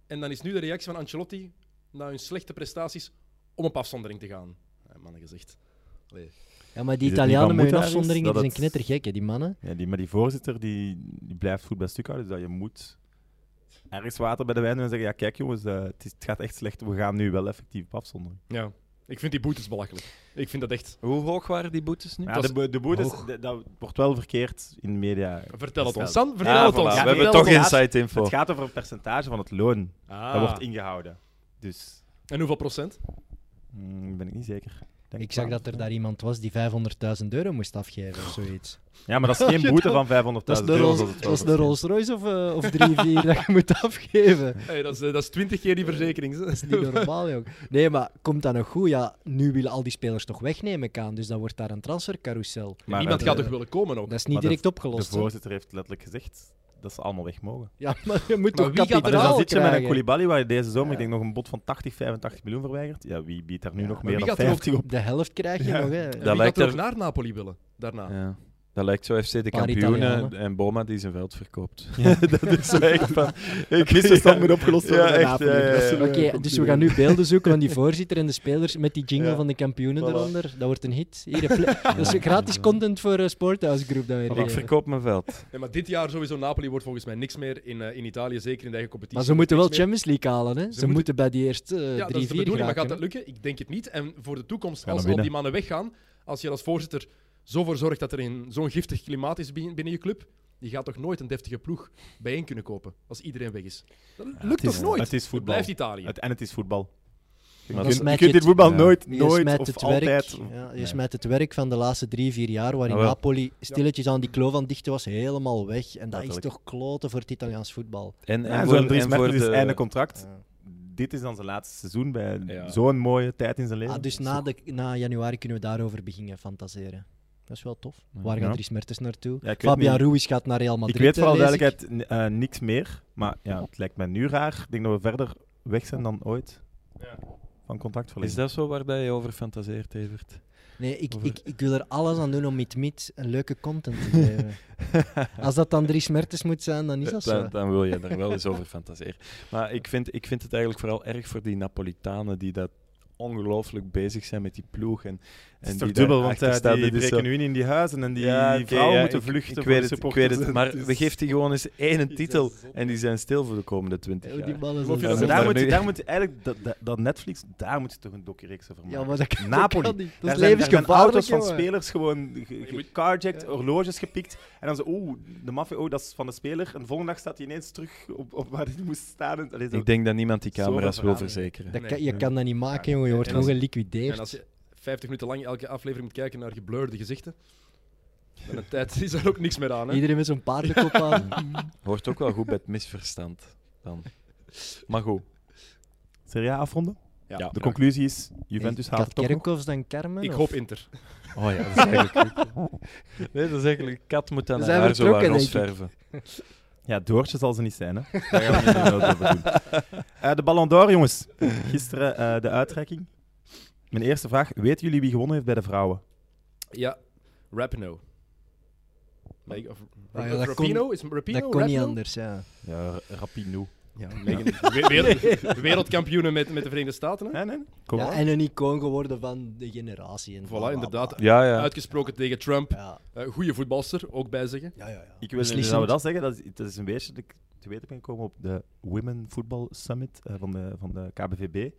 En dan is nu de reactie van Ancelotti, na hun slechte prestaties, om op afzondering te gaan. Ja, mannen gezegd. Allee.
Ja, maar
Is het
die
niet
Italianen
van
met hun
Moetelaar is
afzonderingen
dat
die zijn
het-
knettergek, hè, die mannen.
Ja, die, maar die voorzitter die, die blijft goed bij stuk houden. Dus dat je moet ergens water bij de wijn doen en zeggen: Ja, kijk jongens, eh, het, is- het gaat echt slecht. We gaan nu wel effectief op afzondering.
Ja, ik vind die boetes belachelijk. Ik vind dat echt...
Hoe hoog waren die boetes nu?
Maar
Het
ja,
was
de, bo- de boetes,
hoog.
de- dat wordt wel verkeerd in de media.
Vertel het
Ja,
ons. San, vertel
Ah,
het
voilà,
ons.
Ja,
we hebben
Vertel
toch
het ons.
insight info.
Het gaat over een percentage van het loon
Ah.
dat wordt ingehouden. Dus
En hoeveel procent?
mm, ben ik niet zeker. Denk
Ik zag
12,
dat er
ja.
daar iemand was die 500.000 euro moest afgeven of zoiets.
Ja, maar dat is geen boete van 500.000 euro.
Dat is de, Rolls,
zoals het
dat is de
was.
Rolls Royce of, eh, of drie, vier dat je moet afgeven.
Hey, dat, is, eh, dat is 20 keer die verzekering. Dat is
Niet normaal, jong. Nee, maar komt dat nog goed? Ja, nu willen al die spelers toch wegnemen, Kaan. Dus dan wordt daar een transfercarousel.
Maar
Niemand
de-
gaat toch willen komen ook?
Dat is
Maar
niet direct
De
opgelost. hè.
voorzitter heeft letterlijk gezegd dat ze allemaal weg mogen.
Ja, maar je moet
Maar
toch
wie gaat er
Maar dus dan
kapitaal
zit je met een
krijgen.
Koulibaly waar je deze zomer
Ja.
ik denk nog een bod van 80, 85 miljoen verweigert. Ja, wie biedt daar nu
Ja,
nog
maar
meer
wie
dan
gaat er ook
50 op?
De helft krijg je
Ja.
nog, hè.
En
Dat
wie
lijkt
gaat er ook
er-
naar Napoli willen? Daarna.
Ja. Dat lijkt zo FC de
Paar
kampioenen
Italianen.
en Boma die zijn veld verkoopt.
dat is echt Dus van... Ik
misverstand
misverstand
moet
moet opgelost
worden
worden.
bij Napoli. Dat is een,
Oké, dus we gaan nu beelden zoeken van die voorzitter en de spelers met die jingle
Ja.
van de kampioenen
Voilà.
eronder. Dat wordt een hit. Hier, een fle- dat is gratis content voor eh, Sporthouse Group dat we hier
Ik
geven.
verkoop mijn veld.
Nee, maar dit jaar sowieso Napoli wordt volgens mij niks meer in, eh, in Italië, zeker in de eigen competitie.
Maar ze moeten wel
Niks meer.
Champions League halen, hè. Ze,
moeten-
moeten, bij die eerste eh,
Ja, dat
drie,
is de
vier
bedoeling, maar gaat dat
geraken,
lukken? Ik denk het niet. En voor de toekomst,
Gaan
als
we
al die
winnen.
mannen weggaan, als je als voorzitter zo voor zorgt dat er in zo'n giftig klimaat is binnen binnen je club, je gaat toch nooit een deftige ploeg bijeen kunnen kopen als iedereen weg is. Dat lukt
het is-
toch nooit?
het is voetbal.
blijft Italië.
Het, en het is voetbal. Je,
Maar
kunt-
dat
je
is
kunt dit voetbal
Ja.
nooit,
hè. Je
nooit
smijt
of
het
altijd...
Werk, ja, je
Nee.
smijt het werk van de laatste drie, vier jaar waarin
Ah, wel.
Napoli stilletjes aan die kloof aan het dichten was, helemaal weg. En dat is
Letterlijk.
toch kloten voor het Italiaans voetbal. Ah,
En, en,
Ja,
voor,
zo'n Dries
en voor
Mertens is
de-
einde contract. Dit is dan zijn laatste seizoen bij
Ja.
zo'n mooie tijd in zijn leven.
Ah, dus na, de, na januari kunnen we daarover beginnen fantaseren. Dat is wel tof. Waar
Ja.
gaat Dries Mertens naartoe?
Ja, ik weet
Fabian
niet.
Ruiz gaat naar Real
Ik
Madrid.
weet voor alle
eh, lees ik.
duidelijkheid n- eh, niks meer. Maar ja, het lijkt mij nu raar. Ik denk dat we verder weg zijn dan ooit van
Is
contactverlenging.
dat zo waar dat je over fantaseert, Evert?
Nee, ik,
Over-
ik, ik wil er alles aan doen om met Mit een leuke content te geven. Als dat dan Dries Mertens moet zijn, dan is dat zo.
Dan, dan wil je er wel eens over fantaseren. Maar ik vind, ik vind het eigenlijk vooral erg voor die Napolitanen die dat ongelooflijk bezig zijn met die ploeg. En,
Het
en
is toch
die
dubbel, want
daarachter
eh,
staan.
die
Dit is zo-
breken nu in in die huizen en die,
Ja,
die
oké,
vrouwen
ja,
moeten
ik-
vluchten
Ik,
voor
weet
de
het, ik
supporters.
weet het, maar we geven die gewoon eens één
is
titel
zot.
en die zijn stil voor de komende twintig
Oh, die
jaar.
ballen
Geloof je
zijn
dat
zo-
ze
daar,
daar
moet,
nu-
daar moet je eigenlijk, dat, dat, dat Netflix, daar moet je toch een docu-reeks over maken.
Ja, maar dat kan,
Napoli.
dat kan niet. Dat
Daar
is
zijn, daar zijn
levensgevaarlijk,
auto's van
jongen.
spelers gewoon ge- ge-
je moet-
gecarjacked, horloges gepikt. En dan zo, oeh, de maffia, oh, dat is van de speler. En de volgende dag staat hij ineens terug op, op waar hij moest staan. En, allee, zo.
Ik denk dat niemand die
Zoveel
camera's wil
verhalen.
verzekeren.
Dat
Nee.
kan- je kan dat niet maken,
Ja,
jongen. Je wordt
en
gewoon
als-
geliquideerd.
En als je 50 minuten lang elke aflevering moet kijken naar geblurde gezichten, dan een tijd is er ook niks meer aan. Hè?
Iedereen met zo'n paardenkop aan.
Hoort ook wel goed bij het misverstand dan. Maar goed,
Serie A afronden?
Ja.
Ja.
De conclusie is, Juventus haalt
Gaat
het toch nog.
Kerkhoffs dan Carmen?
Ik
of-
hoop Inter.
Oh ja, dat is eigenlijk. nee, dat is eigenlijk. Kat moet aan
We
haar
zijn
haar zo wat
vertrokken,
ros
denk ik.
verven.
Ja, Doortje zal ze niet zijn, hè. Daar gaan we niet de nood over doen. Eh, de Ballon d'Or, jongens. Gisteren eh, de uitreiking. Mijn eerste vraag. Weten jullie wie gewonnen heeft bij de vrouwen?
Ja, Rapino. Meg- of-
Ah, ja,
of
dat kon-
Rapino? is het Rapino?
Dat kon niet
Rapino?
anders, ja.
Ja, Rapino.
Ja, Megan- we- wereld- wereldkampioenen met, met de Verenigde Staten. Hè?
Nee, nee. Kom
ja.
maar.
En een icoon geworden van de generatie. En bla, bla,
Voilà, inderdaad.
bla.
Ja, ja.
Uitgesproken tegen Trump.
Ja,
Eh goede voetbalster, ook bij zeggen.
ja, ja. ja.
Ik wil
Beslissend.
Dus zou dat zeggen. Dat is, dat is een beetje dat ik te weten ben gekomen op de Women Football Summit eh, van, de, van de KBVB. Het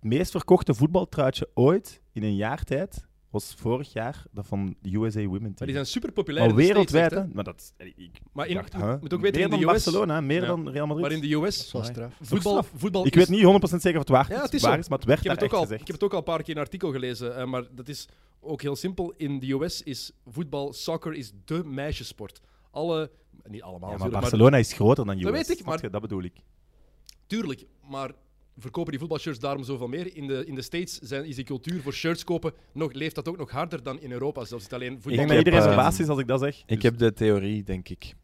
meest verkochte voetbaltruitje ooit in een jaar tijd was vorig jaar dat van de USA Women Team.
Maar die zijn super populair.
maar wereldwijd,
hè?
hè? Maar dat, eh, ik
Maar in,
dacht,
moet-
hè?
moet ook weten
meer
in de
dan
US.
Barcelona, hè, meer
Ja.
dan Real Madrid.
Maar in de US,
Zoals
Amai.
straf.
voetbal,
straf.
voetbal
Ik
is-
weet niet 100% zeker of het waar,
Ja, het is
waar
zo.
is, maar het werd
Ik heb, het
daar
ook al,
echt
ik heb het
gezegd.
ook al een paar keer in een artikel gelezen, eh, maar dat is ook heel simpel. In de US is voetbal, soccer is de meisjesport. Alle, niet allemaal,
Ja, maar
natuurlijk,
Barcelona is groter dan US.
Dat weet ik,
snap
maar-
je? Dat bedoel ik.
tuurlijk, maar verkopen die voetbalshirts daarom zoveel meer. In de, in de States zijn, is die cultuur voor shirts kopen, nog, leeft dat ook nog harder dan in Europa. Zelfs het alleen
Ik
voetbal.
denk
Ik
dat
heb,
iedereen
eh,
verbaasd is als ik dat zeg.
Dus-
Dus
Ik heb de theorie, denk ik.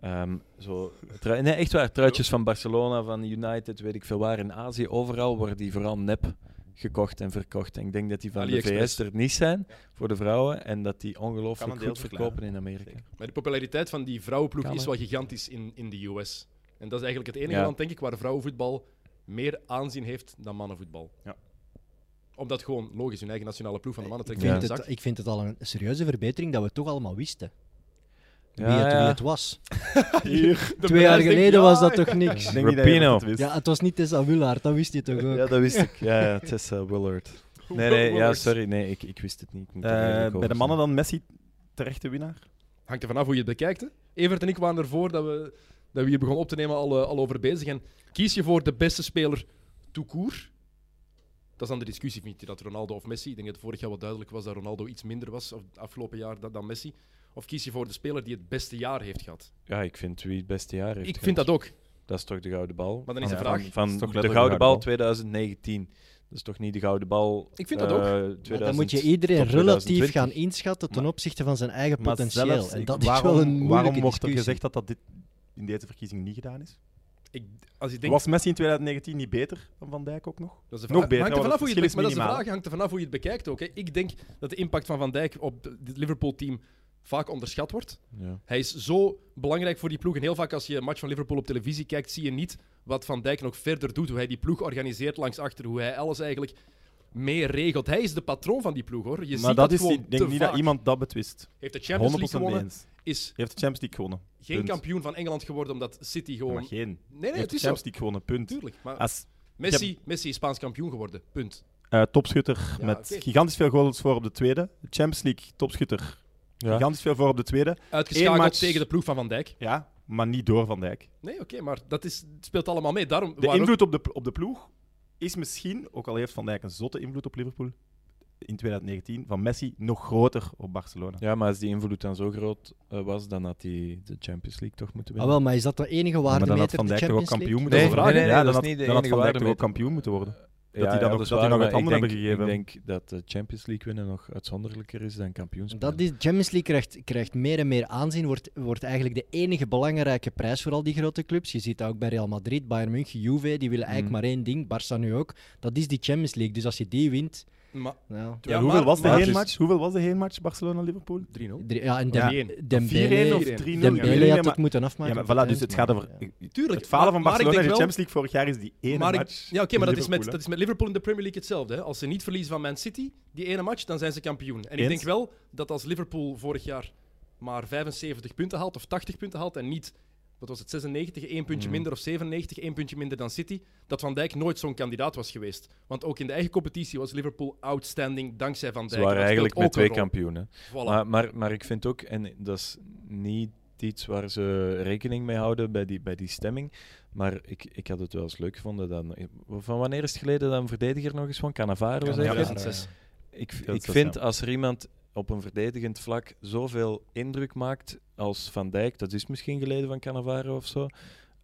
Ehm, zo, trui- nee, echt waar. Truitjes van Barcelona, van United, weet ik veel waar. In Azië, overal worden die vooral nep gekocht en verkocht. En ik denk dat die van de
AliExpress.
VS er niet zijn voor de vrouwen. En dat die
Kan een
ongelooflijk
deel
goed
verklaren.
verkopen in Amerika.
Maar de populariteit van die vrouwenploeg
Kan,
is
hè.
wel gigantisch in, in de US. En dat is eigenlijk het enige
Ja.
land, denk ik, waar vrouwenvoetbal meer aanzien heeft dan mannenvoetbal.
Ja.
Omdat gewoon, logisch, hun eigen nationale ploeg van de mannen
Ik
trekt
Ja.
in de
vind,
zak.
het, ik vind het al een serieuze verbetering dat we toch allemaal wisten wie,
Ja,
het, wie
ja.
het was.
Hier.
De
Twee jaar
prijs, denk ik,
geleden
ja,
was dat toch niks?
Ik denk niet dat je
Rapino.
dat wist.
Ja, het was niet Tessa Willaard, dat wist je toch ook?
Ja, dat wist ik. Ja, ja, het is eh, Willard. Nee, nee, ja,
Willard.
sorry. Nee, ik, ik wist het niet. Ik moet er
Eh,
eerlijk
bij
over
de mannen dan Messi terechte winnaar.
Hangt er vanaf hoe je het bekijkt. Hè? Evert en ik waren ervoor dat we, dat we hier begonnen op te nemen al, eh, al over bezig. En kies je voor de beste speler tout court? Dat is dan de discussie, vind je dat Ronaldo of Messi? Ik denk dat vorig jaar wel duidelijk was dat Ronaldo iets minder was of afgelopen jaar dan, dan Messi. Of kies je voor de speler die het beste jaar heeft gehad?
zijn. Ja, ik vind wie het beste jaar heeft.
ik vind
gehad.
dat ook.
Dat is toch de gouden bal?
Maar dan is
Van-
de vraag-
Van,
Dat is toch
van de
letterlijk
gouden
de
bal
gouden
2019. Dat is toch niet de gouden bal.
Ik vind dat ook.
eh,
Maar dan moet je
2000
iedereen
tot
relatief
2020.
gaan inschatten ten
Maar-
opzichte van zijn eigen
Maar
potentieel.
zelfs,
en
ik-
dat
waarom,
is wel een moeilijke
Waarom wordt er
discussie.
gezegd dat dat dit in deze verkiezing niet gedaan is?
Ik, als ik denk,
Was Messi in 2019 niet beter dan Van Dijk ook nog?
dat is de
nog
vraag.
beter,
Hangt er
want
vanaf
het
hoe je
verschil
het, be- maar dat
is
is de
minimaal.
vraag, hangt er vanaf hoe je het bekijkt ook. Hè? Ik denk dat de impact van Van Dijk op het Liverpool-team vaak onderschat wordt.
Ja.
Hij is zo belangrijk voor die ploeg. En heel vaak als je een match van Liverpool op televisie kijkt, zie je niet wat Van Dijk nog verder doet. Hoe hij die ploeg organiseert langs achter. Hoe hij alles eigenlijk meer regelt. Hij is de patroon van die ploeg hoor. Je ziet
maar
dat
dat is,
gewoon
ik denk
te
niet
vaak.
dat iemand dat betwist. 100%
Heeft de
mee
Champions League gewonnen,
eens. Hij
is
heeft de Champions League gewonnen.
geen
Punt.
kampioen van Engeland geworden omdat City
Ja,
gewoon...
Maar geen. Hij
Nee, nee,
heeft
het
de
is zo.
Champions Ah, League gewonnen, punt.
Tuurlijk. Maar
Als
Messi, Messi is Spaans kampioen geworden. Punt.
eh, topschutter
Ja,
met
oké.
gigantisch veel goals voor op de tweede. Champions League topschutter,
Ja.
gigantisch veel voor op de tweede.
Uitgeschakeld
Eén match-
tegen de ploeg van Van Dijk.
Ja, maar niet door Van Dijk.
Nee, oké, maar dat is, het speelt allemaal mee. Daarom,
De
waar ook-
invloed op de, p- op de ploeg is misschien, ook al heeft Van Dijk een zotte invloed op Liverpool in 2019, van Messi nog groter op Barcelona.
Ja, maar als die invloed dan zo groot eh, was, dan had hij de Champions League toch moeten
Ah,
winnen.
wel, maar is dat de enige
Ja, maar dan
waardemeter
had Van
de
Dijk toch ook
Champions
kampioen
League?
moeten
Nee,
worden?
nee, nee,
ja,
nee,
dan
dat
had,
is niet de
dan had
enige
Van Dijk toch ook
waardemeter.
kampioen moeten worden.
Ja,
dat die
ja,
dan ook-
is
dat
waar,
die nog
maar
het
ik
andere hebben
denk-
gegeven.
Ik denk dat de Champions League winnen nog uitzonderlijker is dan kampioenschap.
Dat is, Champions League krijgt, krijgt meer en meer aanzien, wordt, wordt eigenlijk de enige belangrijke prijs voor al die grote clubs. Je ziet dat ook bij Real Madrid, Bayern München, Juve, die willen eigenlijk
Mm.
maar één ding, Barça nu ook. Dat is die Champions League, dus als je die wint...
Maar-
Nou,
Ja,
hoeveel,
maar-
was de
maar-
heenmatch? hoeveel was de heenmatch Barcelona-Liverpool? 3-0. 4-1
drie- ja, en Dem-
Ja.
Dembele,
of 3-0?
Dembele
Ja, nee,
Dembele
nee,
had
maar-
het moeten afmaken.
Ja, maar
op
voilà, dus
het eind,
het gaat
maar-
over...
ja.
Tuurlijk.
Het falen
maar-
van
maar ik
Barcelona in de
denk wel-
Champions League vorig jaar is die ene
maar ik-
match.
ja, oké, maar dat is, met,
Liverpool,
dat is met Liverpool in de Premier League hetzelfde. Hè? Als ze niet verliezen van Man City, die ene match, dan zijn ze kampioen. En ik
Eens.
denk wel dat als Liverpool vorig jaar maar 75 punten haalt of 80 punten haalt en niet, wat was het, 96, één puntje minder of 97, één puntje minder dan City, dat Van Dijk nooit zo'n kandidaat was geweest. Want ook in de eigen competitie was Liverpool outstanding dankzij Van
Ze
Dijk.
waren
Dat
eigenlijk
speelt
met
ook
twee
een rol.
kampioenen.
Voilà.
Maar, maar, maar ik vind ook, en dat is niet iets waar ze rekening mee houden bij die, bij die stemming, maar ik, ik had het wel eens leuk gevonden. Dan, van wanneer is het geleden dat een verdediger nog eens van Cannavaro
Ja,
zei?
ja,
Cannavaro.
ja, ja.
Ik,
Dat
ik
is
vind
wel.
als er iemand op een verdedigend vlak zoveel indruk maakt als Van Dijk, dat is misschien geleden van Cannavaro of zo.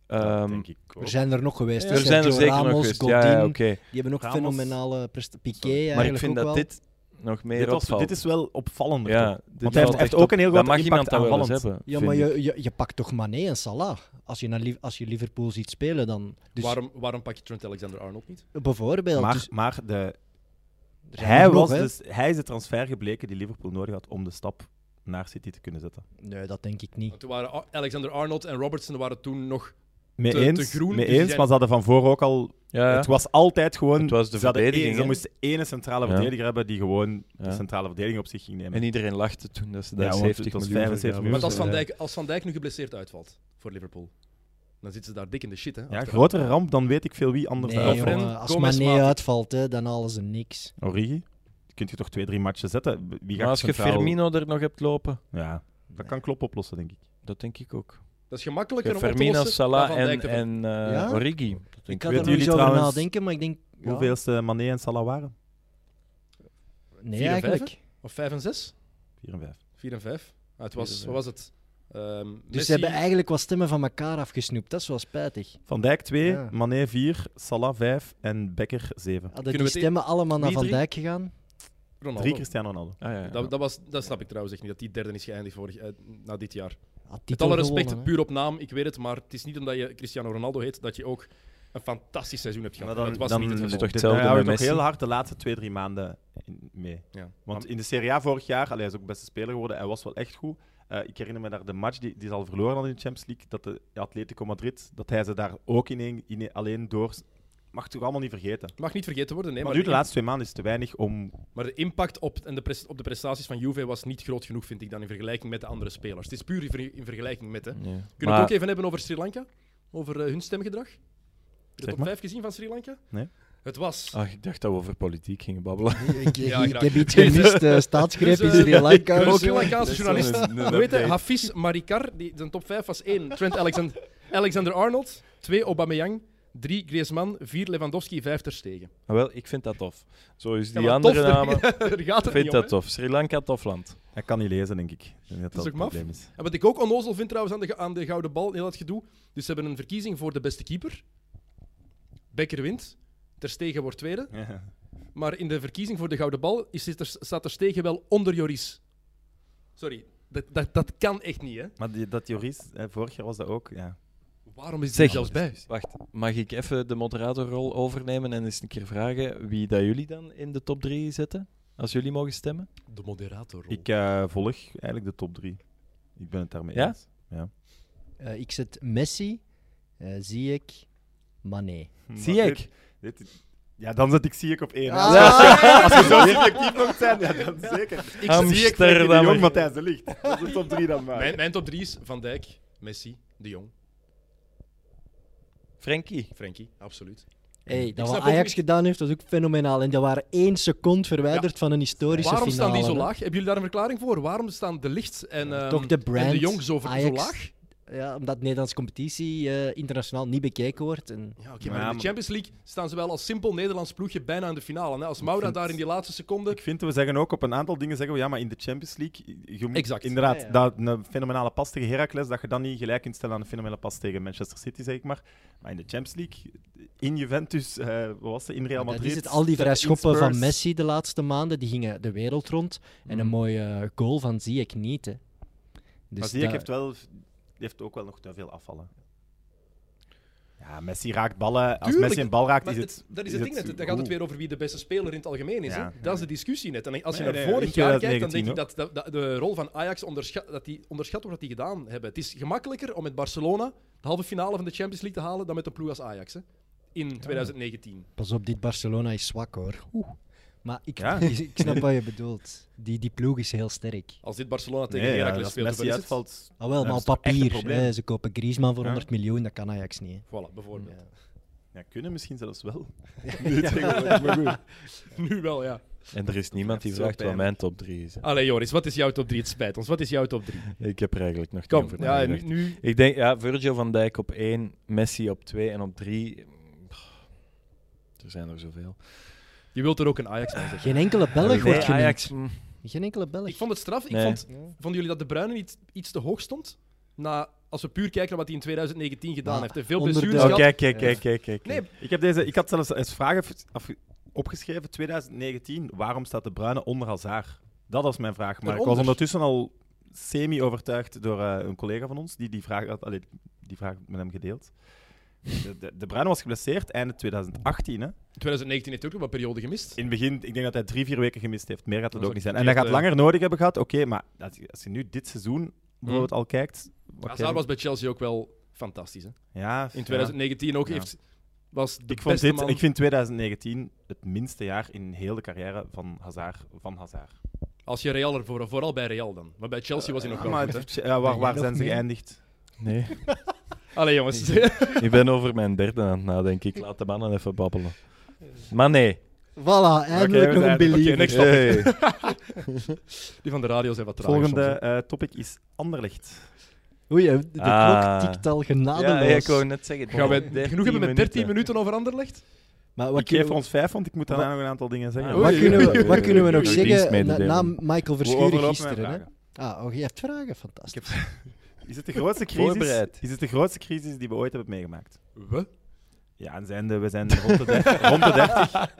Ja,
Ehm,
denk ik ook.
Er zijn er nog geweest. hè.
er zijn er
Sergio
zeker
Ramos,
nog geweest.
Godin,
Ja, ja, oké.
Die hebben nog
Ramos.
fenomenale prestaties. Piqué
Sorry.
Maar
eigenlijk
ik vind
ook
dat
wel.
dit nog meer
dit, was-
opvalt.
dit is wel opvallend.
ja, dit
hij heeft
valt echt
ook
op.
een heel
Dan
grote
mag
impact
iemand dat wel eens
aanvallend.
hebben.
Ja,
vind
maar je,
ik.
je, je pakt toch Mané en Salah als je, naar, Liv- als je Liverpool ziet spelen dan. Dus
waarom, waarom pak je Trent Alexander-Arnold niet?
Bijvoorbeeld.
Maar,
dus
maar de,
er zijn
hij,
er nog,
was
hè.
dus, hij is de transfer gebleken die Liverpool nodig had om de stap naar City te kunnen zetten.
Nee, dat denk ik niet.
Want toen waren Ar- Alexander-Arnold en Robertson waren toen nog...
Mee
Te- te
eens,
groen,
mee
dus die
eens
zijn-
maar ze hadden van voor ook al...
Ja, ja.
Het was altijd gewoon...
Het was de
ze hadden één-
verdediging,
Ze
hè?
moesten één centrale
Ja.
verdediger hebben die gewoon de
Ja.
centrale verdediging op zich ging nemen.
En iedereen lachte toen dat ze daar
Ja, want
70
het was
miljoen voor
75
gaven.
miljoen.
Want als Van,
Ja.
Dijk, als Van Dijk nu geblesseerd uitvalt voor Liverpool, dan zitten ze daar dik in de shit. Hè,
ja,
achteraan.
grotere ramp dan weet ik veel wie anders.
Nee,
daarop.
Lovren,
jongen, als
Gomez,
Mané
Matic.
uitvalt, hè, dan alles en niks.
Origi? kun je toch twee, drie matchen zetten. Wie
Maar
gaat
als je
centraal-
Firmino er nog hebt lopen,
Ja, dat kan Klopp oplossen, denk ik.
dat denk ik ook.
Dat is gemakkelijker
Je
om op te
Firmino,
lossen dan
Salah
Van
en,
Dijk te ver-
en eh,
Ja?
Origi. Dat
Ik had
denk ik.
er
Weten
nog eens
jullie
over
trouwens
nadenken, maar ik denk... ja,
Hoeveelste Mané en Salah waren?
Nee,
Vier en
eigenlijk.
vijf, Of 5 en 6?
4 en 5.
4 en 5. het
Vier
was,
en
wat was het? Ehm
Dus
Messi,
ze hebben eigenlijk wat stemmen van elkaar afgesnoept. Dat is wel spijtig.
Van Dijk 2,
Ja.
Mané 4, Salah 5 en Becker 7.
Hadden
we
die
het in-
stemmen allemaal naar
Wie
Van
drie?
Dijk gegaan?
Ronaldo.
3 Cristiano Ronaldo.
Ah, ja, ja.
Dat, dat, was, dat snap ik trouwens echt niet, dat die derde is geëindigd vorig, eh, na dit jaar.
Had
Met
titel
alle respect,
gewonnen, hè.
puur op naam, ik weet het, maar het is niet omdat je Cristiano Ronaldo heet dat je ook een fantastisch seizoen hebt gehad. dat was niet het
is
geval.
toch
dan
hetzelfde
hou je
met
toch
Messi?
heel hard de laatste twee, drie maanden in- mee.
Ja.
Want in de Serie A vorig jaar, allee, hij is ook beste speler geworden, hij was wel echt goed. Eh, ik herinner me daar de match die, die ze al verloren hadden in de Champions League, dat de Atletico Madrid, dat hij ze daar ook in, één- in alleen door... Mag toch allemaal niet vergeten.
Mag niet vergeten worden, nee.
maar,
Maar,
nu de
de,
laatste twee maanden is te weinig om...
maar de impact op, en de pres- op de prestaties van Juve was niet groot genoeg, vind ik dan, in vergelijking met de andere spelers. Het is puur in, ver- in vergelijking met. Hè. Kunnen
Ja.
we het
Maar
ook even hebben over Sri Lanka? Over eh, hun stemgedrag? Heb je de
Zeg
top
maar.
5 gezien van Sri Lanka?
Nee.
Het was.
Ah, ik dacht dat we over politiek gingen babbelen.
Ik,
Ja,
ik
graag.
heb iets gemist. eh, staatsgreep
Dus,
in
eh,
Sri Lanka.
Een
Ook,
Sri
eh.
Lankaanse journalist.
Dat is wel een- een
Weet je,
update.
Hafiz Marikar, die, zijn top 5 was 1. Trent Alexander, Alexander Arnold, 2 Aubameyang, 3 Griezmann, 4 Lewandowski, 5 Ter Stegen.
Ah, wel, ik vind dat tof. Zo is die
Ja, maar tof,
andere namen.
er- er gaat
Ik
het niet
vind
om,
dat
hè.
tof. Sri Lanka, tof land.
Hij kan niet lezen, denk ik. Ik denk
Dat
Dat dat
is
het
ook maf.
probleem is.
En wat ik ook onnozel vind trouwens aan de, ge- aan de gouden bal, heel dat gedoe. Dus ze hebben een verkiezing voor de beste keeper. Becker wint. Ter Stegen wordt tweede. Maar in de verkiezing voor de gouden bal is, het er, staat Ter Stegen wel onder Joris. Sorry, dat, dat, dat kan echt niet, hè?
Maar die, dat Joris, eh, vorig jaar was dat ook, ja.
Waarom is hij
Zeg,
zelfs bij?
Wacht, mag ik even de moderatorrol overnemen en eens een keer vragen wie dat jullie dan in de top 3 zetten? Als jullie mogen stemmen?
De moderator.
Ik eh, volg eigenlijk de top drie. Ik ben het daarmee
Ja?
eens.
Eh, ik zet Messi, eh Ziyech, Mané.
Hm,
Zie ik.
Dit- dit- ja, dan zet ik zie ik op één. hè.
Ah.
Als je- Als je zo subjectief moet zijn, ja, dan zeker. Ik zie ik tegen de
Amsterdammer.
jong Matthijs de Ligt. Dat is de top drie dan maar.
Mijn, mijn top 3 is Van Dijk, Messi, De Jong,
Frankie.
Frenkie, absoluut.
Hey, Eh, dat
snap
wat
ook
Ajax
niet-
gedaan heeft, dat is ook fenomenaal. En die waren één seconde verwijderd van een historische
Waarom
finale.
staan die zo
hè.
laag? Hebben jullie daar een verklaring voor? Waarom staan De Licht en, ehm,
Toch de
en
brand,
De Jong zo, ver- zo
Ajax.
laag?
Ja, omdat Nederlandse competitie eh, internationaal niet bekeken wordt. En
Ja, oké, maar
Ja,
in de
maar-
Champions League staan ze wel als simpel Nederlands ploegje bijna in de finale. Hè? Als Maura
vind-
daar in die laatste seconde...
Ik vind, we zeggen ook op een aantal dingen, zeggen we ja, maar in de Champions League, je moet
Exact.
inderdaad
Ja, ja.
Dat, een fenomenale pas tegen Heracles, dat je dan niet gelijk kunt stellen aan een fenomenale pas tegen Manchester City, zeg ik maar. Maar in de Champions League, in Juventus, eh, wat was het, in Real
dat
Madrid.
is het. Al die
in
vrij schoppen van
Spurs.
Messi de laatste maanden, die gingen de wereld rond. En
Mm.
een mooie goal van Ziyech niet, hè. Dus
maar Ziyech
dat-
heeft, wel, heeft ook wel nog te veel afvallen. Ja, Messi raakt ballen. Als
Tuurlijk,
Messi een bal raakt,
Maar
is
dat-
het...
dat is het ding net. Dan gaat het
goed.
weer over wie de beste speler in het algemeen is.
Ja.
hè? Dat is de discussie net. En als je
Nee,
naar
nee,
vorig
in
jaar kijkt, dan denk
2019
ik dat, dat- dat de rol van Ajax onderschat, dat die onderschat wordt wat die gedaan hebben. Het is gemakkelijker om met Barcelona de halve finale van de Champions League te halen dan met een ploeg als Ajax. Hè? In 2019.
Pas op, dit Barcelona is zwak, hoor. Oeh. Maar ik,
Ja.
ik, ik snap wat je bedoelt. Die, die ploeg is heel sterk.
Als dit Barcelona tegen
Nee, ja,
Heracles
als
speelt, dan
Messi
is het.
uitvalt...
Ah, wel,
Ja,
maar
dat
op
is toch echt een
papier.
probleem?
hè. Ze kopen Griezmann voor
Ja.
100 miljoen, dat kan Ajax niet. hè.
Voilà, bijvoorbeeld.
Ja, kunnen misschien zelfs wel. Nu tegenwoordig, maar goed.
Nu wel, ja.
En er is niemand die
Zo
vraagt wat
pijnlijk.
mijn top 3 is. hè.
Allee, Joris, wat is jouw top 3? Het spijt ons. Wat is jouw top 3?
Ik heb er eigenlijk nog niet
Kom,
over
ja, nu,
nagedacht.
nu-
Ik denk, ja, Virgil van Dijk op 1, Messi op 2 en op 3. Er zijn er zoveel.
Je wilt er ook een Ajax bij zeggen.
Geen enkele Belg
Nee,
wordt genoemd.
Ajax. mm,
Geen enkele Belg.
Ik vond het straf. Ik
Nee.
vond, vonden jullie dat De Bruyne niet iets te hoog stond? Na, als we puur kijken naar wat hij in 2019 gedaan
Ja,
heeft. hè. Veel
onder de-
blessures
Oh,
gehad.
kijk, kijk, kijk, kijk. kijk.
Nee,
Ik, heb deze, ik had zelfs eens vragen af- afge- opgeschreven, 2019, waarom staat de Bruine onder Hazard? Dat was mijn vraag, maar ik was
Eronder.
ondertussen al semi-overtuigd door eh, een collega van ons, die die vraag had allee, die vraag met hem gedeeld. De, de, de Bruyne was geblesseerd einde 2018. Hè?
2019 heeft hij ook nog wat periode gemist.
In het begin, ik denk dat hij drie, vier weken gemist heeft. Meer
Dat
gaat het
is
ook
ook
niet zijn.
niet
En hij
echt,
gaat
eh,
langer nodig hebben gehad. Oké, maar als je, als je nu dit seizoen bijvoorbeeld al kijkt... wat
Hazard
jij-
Mhm. was bij Chelsea ook wel fantastisch. Hè?
ja,
In
ja.
2019 ook
Ja.
heeft, was de
Ik, vond
beste
dit,
man.
ik vind 2019 het minste jaar in heel de carrière van Hazard. Van Hazard.
Als je Real ervoor, vooral bij Real dan. Maar bij Chelsea was hij nog
Ja,
wel
maar
goed. hè.
het- ja, waar
Ja,
waar
nog
zijn ze
meer?
geëindigd?
Nee,
Allee jongens.
ik ben over mijn derde aan het nadenken. Ik laat de mannen even babbelen. Maar nee,
Voilà, eindelijk
we
nog een
zijn-
believer.
oké, next stap.
Hey.
Die van de radio zijn wat traag.
Eh, Volgende eh, topic is Anderlecht.
Oei, de klok
Ah.
tikt al
Ja,
genadeloos.
ja, ik wou net zeggen.
Gaan wij
13
genoeg hebben met 13 minuten over Anderlecht?
maar
Ik
wat,
geef
kunnen,
er ons vijf, want ik moet daarna
Wat-
nog een aantal dingen zeggen.
Ah,
wat,
Oei,
kunnen
oei,
we,
oei,
wat
oei,
kunnen we
oei,
nog
oei,
zeggen na,
dienstmededeling.
na Michael
We
Verschuren
overlopen met
gisteren? Hè?
vragen.
Ah, oh, je hebt vragen, fantastisch.
Is het de grootste crisis?
Voorbereid.
Is het de grootste crisis die we ooit hebben meegemaakt?
We?
Ja, en zijn de, we zijn rond de 30. rond de 30.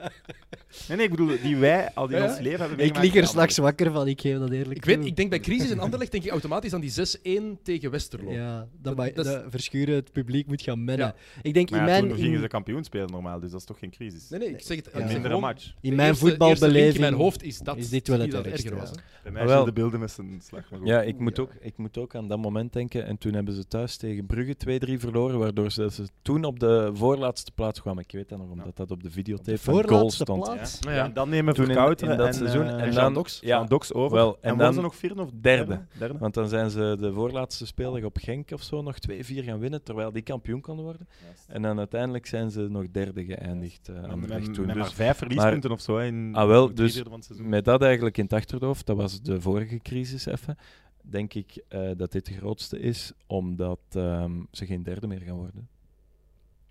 Nee, nee, ik bedoel, die wij al die
Ja, ja.
ons leven hebben
Ik
meegemaakt.
lig er straks wakker van, ik geef dat eerlijk
Ik weet,
toe.
ik denk bij crisis en Anderlecht denk ik automatisch aan die 6-1 tegen Westerlo.
Ja, dat,
Dat-
ma-
dat is-
dat Verschuren het publiek moet gaan mennen.
Ja.
Ik denk
Maar
in
ja,
mijn...
toen
in-
gingen ze kampioen spelen normaal, dus dat is toch geen crisis.
Nee, nee, ik zeg het. ik
Ja.
Een
zeg
mindere
gewoon,
match.
In
de
mijn
eerste- eerste link
voetbalbeleving
in mijn hoofd is dat.
is dit wel het
niet dat
ergste,
erger
ja.
was. hè.
Bij mij
Ah, Wel.
zijn de beelden met zijn slag. maar goed.
Ja, ik moet, Ook, ik moet ook aan dat moment denken. En toen hebben ze thuis tegen Brugge 2-3 verloren, waardoor ze, ze toen op de voorlaatste plaats kwamen. Ik weet dat nog, omdat dat op de videotape van goal
voorlaatste
stond.
plaats.
Ja.
Ja.
Ja, en dan nemen we
Toen in-
Verkouteren
in dat
en,
seizoen.
eh,
En
en
dan-
Jean Dox,
ja.
Jean Dox over.
Wel, en
en
dan
waren ze nog vierde of
derde.
derde?
Want dan zijn ze de voorlaatste speeldag op Genk of zo nog 2-4 gaan winnen, terwijl die kampioen konden worden. En dan uiteindelijk zijn ze nog derde geëindigd eh, aan de weg
Met,
toen.
met
Dus
maar vijf verliespunten of zo. hè, In,
Ah, wel,
in drie
dus
derde van het seizoen.
met dat eigenlijk in het achterhoofd, dat was de vorige crisis even, denk ik eh, dat dit de grootste is, omdat ehm, ze geen derde meer gaan worden.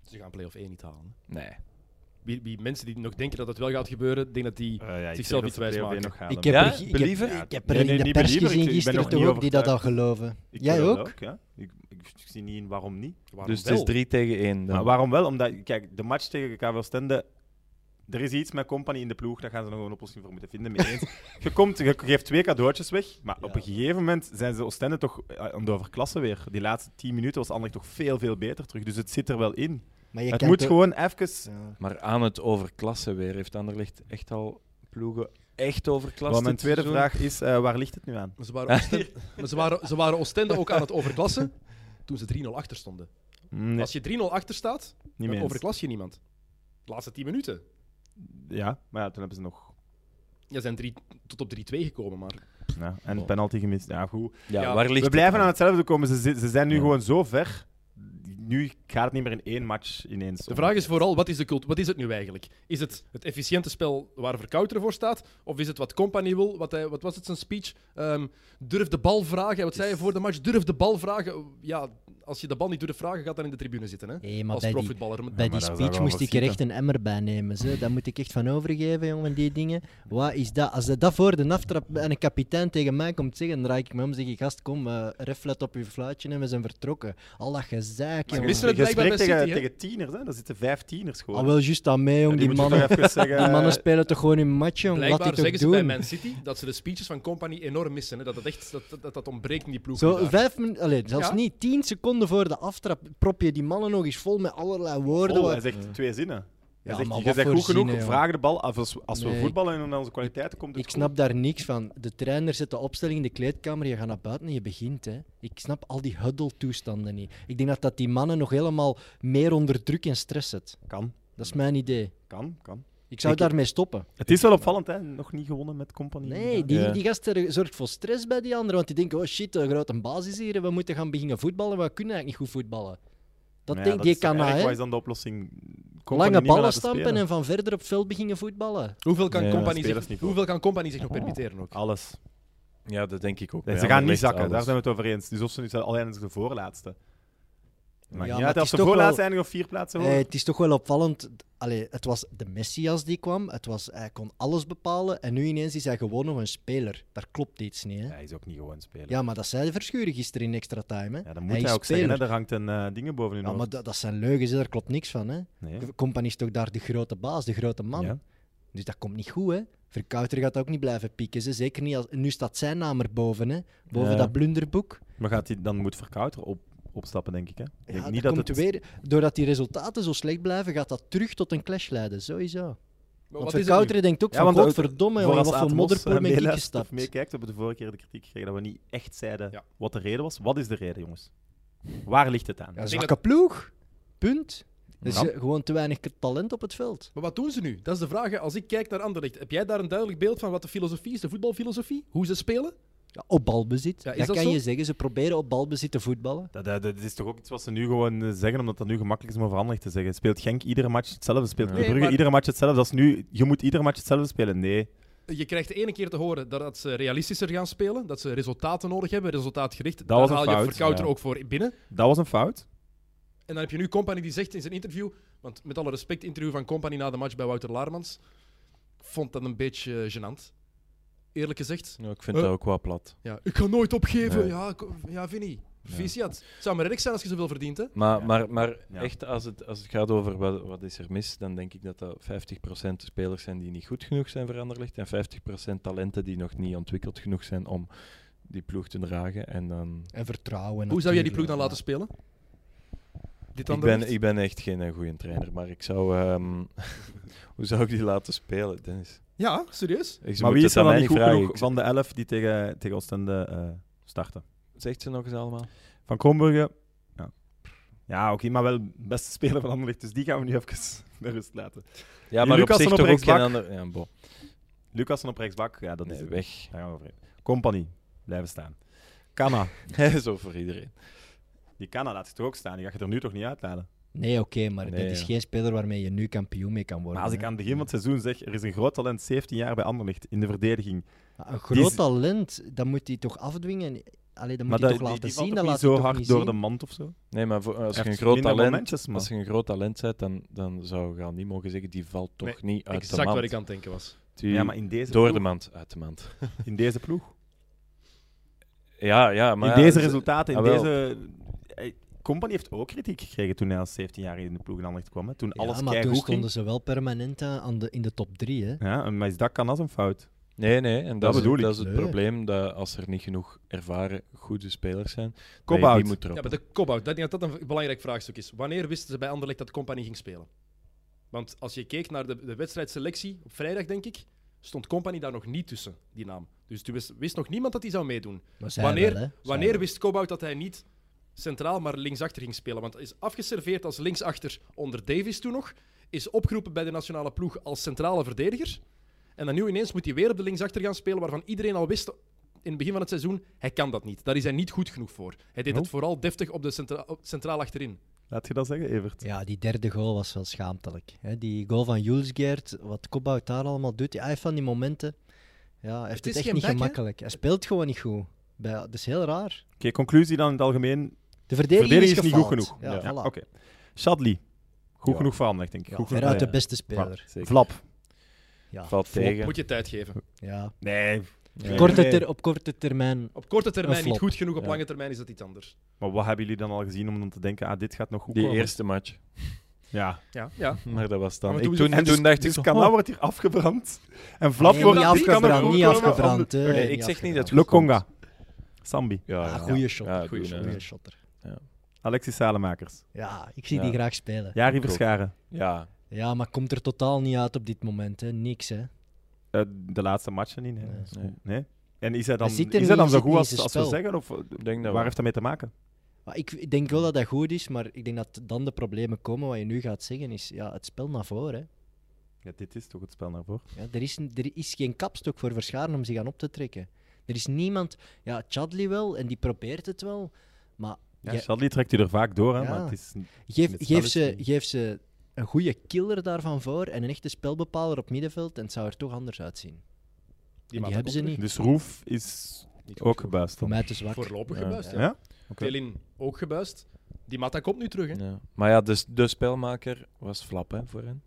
Ze gaan play-off 1 niet halen.
Nee.
Wie, wie mensen die nog denken dat het wel gaat gebeuren, denken dat die...
Eh, ja, ik
zichzelf
denk dat
iets
ze twee
wijsmaken.
of één nog halen.
Ik heb,
Ja,
er, ik, heb,
believer?
ik heb er
Nee,
in
nee,
de
niet
pers
believer, ik-
gezien
ik ben
gisteren
nog
toch
niet
ook die dat al
overtuigd.
geloven.
Ik
Jij
wil dat
ook?
ja. Ik, ik, ik zie niet in waarom niet.
Waarom
Dus het
wel?
is 3 tegen 1.
Maar waarom wel? Omdat, kijk, de match tegen KV Stende. Er is iets met Company in de ploeg, daar gaan ze nog een oplossing voor moeten vinden. Mee eens. Je, komt, je geeft twee cadeautjes weg, maar op een gegeven moment zijn ze Oostende toch eh, aan de overklassen weer. Die laatste tien minuten was Anderlecht toch veel, veel beter terug. Dus het zit er wel in.
Maar je
het
kan
moet
toch-
gewoon even...
Ja.
Maar aan het overklassen weer. Heeft Anderlecht echt al ploegen echt overklassen?
Want mijn tweede vraag is, eh, waar ligt het nu aan?
Maar ze waren, Oostende, maar ze waren, ze waren Oostende ook aan het overklassen toen ze 3-0 achter stonden.
Mm, Nee,
Als je 3-0 achter staat,
niet
dan
meer eens.
overklas je niemand. De laatste 10 minuten.
Ja, maar ja, toen hebben ze nog...
Ja, ze zijn drie, tot op 3-2 gekomen, maar...
Ja, en een penalty gemist. Ja, goed.
Ja,
Ja,
waar ligt
We
het
blijven aan hetzelfde komen. Ze, zi- ze zijn nu
Ja.
gewoon zo ver. Nu gaat het niet meer in één match ineens.
De vraag is vooral, wat is, de cult wat is het nu eigenlijk? Is het het efficiënte spel waar Verkouteren voor staat? Of is het wat Company wil? Wat, hij, wat was het zijn speech? Ehm, durf de bal vragen. Wat zei je voor de match? Durf de bal vragen. Ja, als je de bal niet durft vragen, gaat dan in de tribune zitten. Hè?
Nee, maar
als
bij die-
profvoetballer. Maar-
Bij
maar
die
daar zou
speech
wel
moest
wat
ik er echt
zitten.
een emmer bij nemen. Ze. Daar moet ik echt van overgeven, jongen, die dingen. Wat is dat? Als dat dat voor de aftrap en een kapitein tegen mij komt zeggen, dan raak ik me om en zeg ik, gast, kom, eh ref, let op je fluitje en we zijn vertrokken. Al dat gezeik,
Maar
Je
je
jongen.
wist het blijkbaar
spreekt
bij
tegen,
City, hè?
tegen tieners, hè? Daar zitten vijf tieners gewoon.
Al Ah, wel juist aan mee,
Ja,
jong.
die
Die,
moet je
mannen,
toch even zeggen,
die mannen
eh,
spelen toch gewoon hun match, jong. Laat die
Blijkbaar
toch
zeggen ze
doen.
bij Man City dat ze de speeches van Company enorm missen. Hè? Dat, het echt, dat, dat, dat dat ontbreekt in die ploeg.
Zo
vandaag.
vijf minuten, allee, zelfs
Ja.
niet, tien seconden voor de aftrap prop je die mannen nog eens vol met allerlei woorden.
Vol,
waar-
oh, hij zegt twee zinnen. Hij
Ja,
zegt,
maar
je
wat
zegt
voor
goed genoeg,
zinnen, joh.
vraag de bal. af Als, als we
Nee,
voetballen en naar onze kwaliteiten komt het
Ik
goed.
snap daar niks van. De trainer zet de opstelling in de kleedkamer, je gaat naar buiten en je begint. Hè. Ik snap al die huddle-toestanden niet. Ik denk dat dat die mannen nog helemaal meer onder druk en stress zet.
Kan,
Dat is mijn idee.
kan, kan.
Ik zou
Ik-
daarmee stoppen.
Het is wel opvallend, hè? Nog niet gewonnen met compagnie.
Nee, die,
Ja.
die gasten zorgt voor stress bij die anderen. Want die denken, oh shit, een grote basis hier. en We moeten gaan beginnen voetballen. We kunnen eigenlijk niet goed voetballen. Dat
Maar ja,
denkt die
is toch
kan
eigenlijk
hè.
Wat is dan de oplossing? Kompany
Lange
niet meer
ballen
laten
stampen
spelen.
en van verder op het veld beginnen voetballen.
Hoeveel kan,
Nee,
company
spelers
zich,
niet
hoeveel kan Company zich nog permitteren ook?
Alles.
Ja, dat denk ik ook.
Nee,
bij
ze gaan niet
Anderlecht
zakken,
alles.
daar zijn we het over eens. Dus of ze nu zijn, alleen als de voorlaatste. Maar
Ja,
ja,
maar het
als
is
de
toch
voorlaatste
wel-
eindigen of vier plaatsen
Eh,
hoger.
het is toch wel opvallend. Allee, het was de Messias die kwam. Het was, hij kon alles bepalen. En nu ineens is hij gewoon nog een speler. Daar klopt iets niet. Hè?
Hij is ook niet gewoon spelen.
Ja, maar dat zei de Verschuren gisteren in extra time. Hè?
Ja, dan moet
Hij
hij,
is
ook zeggen, hè,
speler.
er hangt een eh ding bovenin.
Ja, maar dat, dat zijn leugens, hè, daar klopt niks van. Hè?
nee.
De compagnie is toch daar de grote baas, de grote man.
Ja.
Dus dat komt niet goed. Hè? Verkouter gaat ook niet blijven pieken. Ze. Zeker niet als, nu staat zijn naam erboven, hè? boven
Ja.
dat blunderboek.
Maar gaat hij, dan moet Verkouter op, opstappen, denk ik. Hè? Ik
Ja,
denk
dat
niet dat
komt
het...
weer, doordat die resultaten zo slecht blijven, gaat dat terug tot een clash leiden, sowieso.
Maar wat
Want
is het nu?
Verkouter denkt ook
Ja,
van,
want ook-
godverdomme,
Voor
jongen,
als
wat voor
Atmos, eh,
modderpoel ben ik
meeluistert of
gestapt.
meekijkt, hebben we de vorige keer de kritiek gekregen dat we niet echt zeiden
Ja.
wat de reden was. Wat is de reden, jongens? Waar ligt het aan?
Ja,
denk
zwakke
dat-
ploeg. Punt. Dus
Ja.
eh, gewoon te weinig talent op het veld.
Maar wat doen ze nu? Dat is de vraag. hè. Als ik kijk naar Anderlecht, heb jij daar een duidelijk beeld van wat de filosofie is, de voetbalfilosofie? Hoe ze spelen?
Ja, op balbezit.
Ja, is
dat,
dat
kan
zo?
je zeggen. Ze proberen op balbezit te voetballen.
Dat, dat, dat is toch ook iets wat ze nu gewoon eh, zeggen, omdat dat nu gemakkelijk is om over Anderlecht te zeggen. Speelt Genk iedere match hetzelfde? Speelt
Ja.
Club
Nee,
Brugge
maar-
iedere match hetzelfde? Dat is nu, je moet iedere match hetzelfde spelen? Nee.
Je krijgt de ene keer te horen dat, dat ze realistischer gaan spelen, dat ze resultaten nodig hebben, resultaatgericht. Dat
was een
haal je
fout,
Verkouter
ja.
ook voor binnen.
Dat was een fout.
Dus
En dan heb je nu Company die zegt in zijn interview, want met alle respect, interview van Company na de match bij Wouter Laarmans, ik vond dat een beetje eh, gênant. Eerlijk gezegd.
Ja, ik vind
Eh.
dat ook wel plat.
Ja, ik ga nooit opgeven.
Nee.
Ja, ko- ja, Vinny. Proficiat. Het zou maar erg zijn als je zoveel verdient, hè?
Maar,
Ja.
maar, maar
Ja.
echt, als het, als het gaat over wat, wat is er mis, dan denk ik dat dat 50% spelers zijn die niet goed genoeg zijn voor Anderlecht en 50% talenten die nog niet ontwikkeld genoeg zijn om die ploeg te dragen. En dan...
En vertrouwen.
Hoe zou jij die
natuurlijk,
ploeg dan
ja.
laten spelen? Dit
Ik
Anderlecht?
ben, ik ben echt geen eh, goede trainer, maar ik zou... ehm, hoe zou ik die laten spelen, Dennis?
Ja, serieus?
Ik- ze
maar
moet
wie
het
is er
aan
dan
mij
niet goed
vragen.
genoeg
Ik-
van de elf die tegen, tegen Oostende eh, starten?
Zegt ze nog eens allemaal?
Van Kronbrugge? Ja, ja oké, maar wel beste speler van Anderlecht. Dus die gaan we nu even naar rust laten.
Ja,
Die
maar
Lucas
op zich
dan op
toch ook geen
rechtsbak?
ander... Ja, bo.
Lucas op rechtsbak, ja, dat
Nee,
is het.
weg.
Daar gaan we over. Compagnie, blijven staan. Kana,
Zo voor iedereen.
die Kana laat zich toch ook staan? Die gaat je er nu toch niet uithalen?
Nee, oké, maar
Nee,
dat is
ja.
geen speler waarmee je nu kampioen mee kan worden.
Maar als ik
hè.
aan het begin van het seizoen zeg, er is een groot talent, 17 jaar bij Anderlecht, in de verdediging.
Een
Die
groot
is-
talent, dan moet hij toch afdwingen. Allee, dan
maar
moet
dat,
hij
die-
toch laten
die valt toch
zien. Dan
niet
laat
zo
hij toch
hard
niet
door
zien.
de mand of zo?
Nee, maar voor- als,
Hij
je een
heeft
groot
minder
talent,
momentjes, man.
als je een groot talent bent, dan, dan zou je al niet mogen zeggen, die valt toch niet uit de
Exact
mand.
waar ik aan het denken was.
Die-
Ja, maar in deze
door de
ploeg-
mand, uit de mand.
In deze ploeg.
Ja, ja, maar...
in
ja,
deze
ze- Ah,
resultaten, in
jawel.
deze... Eh, Company heeft ook kritiek gekregen toen hij als 17 jaar in de ploeg in Anderlecht kwam. Hè. Toen alles
ja, maar toen
keigoed
stonden
ging.
ze wel permanent eh, aan aan de, in de top drie. Hè.
Ja, maar is dat kan als een fout?
Nee, nee, en dat, is,
bedoel ik.
dat is het
Nee.
probleem, dat als er niet genoeg ervaren, goede spelers zijn, dat je
Kop out.
die moet erop.
Ja, maar de cop-out, dat, ik denk dat dat een belangrijk vraagstuk is. Wanneer wisten ze bij Anderlecht dat Company ging spelen? Want als je keek naar de, de wedstrijdselectie op vrijdag, denk ik, stond Company daar nog niet tussen, die naam. Dus toen wist, wist nog niemand dat hij zou meedoen.
Maar zij
Wanneer,
wel, hè.
wanneer wist Cobbout dat hij niet centraal, maar linksachter ging spelen? Want hij is afgeserveerd als linksachter onder Davis toen nog. Is opgeroepen bij de nationale ploeg als centrale verdediger. En dan nu ineens moet hij weer op de linksachter gaan spelen, waarvan iedereen al wist in het begin van het seizoen, hij kan dat niet. Daar is hij niet goed genoeg voor. Hij deed
Oh.
het vooral deftig op de centra- op- centraal achterin.
Laat je dat zeggen, Evert?
Ja, die derde goal was wel schaamtelijk. Hè. Die goal van Julesgeert, wat Kopbouw daar allemaal doet. Hij heeft van die momenten. Ja, hij heeft
is
het, echt
geen
niet
back, hè?
gemakkelijk. Hij speelt gewoon niet goed. Bij, dat is heel raar.
Oké, conclusie dan in het algemeen.
De
De
verdediging,
verdediging is,
is
niet goed
gefaald.
genoeg.
Ja,
Ja,
voilà.
Oké. Shadley, goed
Ja.
genoeg voor Anderlecht, denk ik.
Ja,
goed genoeg
veruit
voor-
de beste
Ja.
speler.
Zeker.
Flap.
Ja.
Valt
Flop.
tegen.
Moet je tijd geven.
Ja.
Nee.
Nee.
Korte ter- op korte termijn
Op korte termijn
Een
niet
flop.
goed genoeg, op
Ja.
lange termijn is dat iets anders.
Maar wat hebben jullie dan al gezien om dan te denken, ah, dit gaat nog goed
Die
komen?
eerste match.
Ja.
Ja, ja.
Maar dat was
Ja,
dan...
maar
Ik,
toen-
toen,
en
toen
dus-
dacht
dus
ik...
Kana
oh,
wordt hier afgebrand. En Flap
Nee,
wordt
niet
dit kan er
afgebrand,
goed
niet
komen.
afgebrand. hè.
Nee,
Niet
ik zeg niet dat
afgebrand.
het goed komt.
Lokonga. Sambi.
Ja,
Ah,
ja.
goeie shot.
Ja,
goeie
doen,
shot.
hè.
goeie shotter.
Alexis Salemakers.
Ja, ik zie
Ja.
die graag spelen. Ja.
Jari
ook.
Verscharen.
Ja,
maar komt er totaal niet uit op dit moment. Hè. Niks, hè.
Eh, de laatste matchen niet. Nee.
Nee.
nee.
nee. En is hij dan,
Hij
is
zit er
hij dan
niet,
zo
zit
goed
niet
als,
in zijn
als we
spel.
zeggen? Of, eh,
ik denk dat
waar
wel.
heeft dat mee te maken?
Maar ik ik denk wel dat dat goed is, maar ik denk dat dan de problemen komen. Wat je nu gaat zeggen is, ja, het spel naar voren. Hè.
Ja, dit is toch het spel naar voren.
Ja, er, is, er is geen kapstok voor Verscharen om zich aan op te trekken. Er is niemand... Ja, Chadli wel, en die probeert het wel. Maar
Ja,
Ja.
Shadley trekt u er vaak door, hè,
Ja.
maar het is...
geef,
Het spel
geef,
is
ze,
niet-
geef ze een goede killer daarvan voor en een echte spelbepaler op middenveld en het zou er toch anders uitzien. Die,
maakt
hebben
dat
ze niet.
Dus Roef is
Niet goed
ook
genoeg.
gebuist
Voor
dan.
mij te zwak.
Voorlopig
Ja.
gebuist, ja.
Ja? Oké.
Pelin ook gebuist. Die Mata komt nu terug, hè.
Ja. Maar ja, dus de spelmaker was Flap hè, voor hen.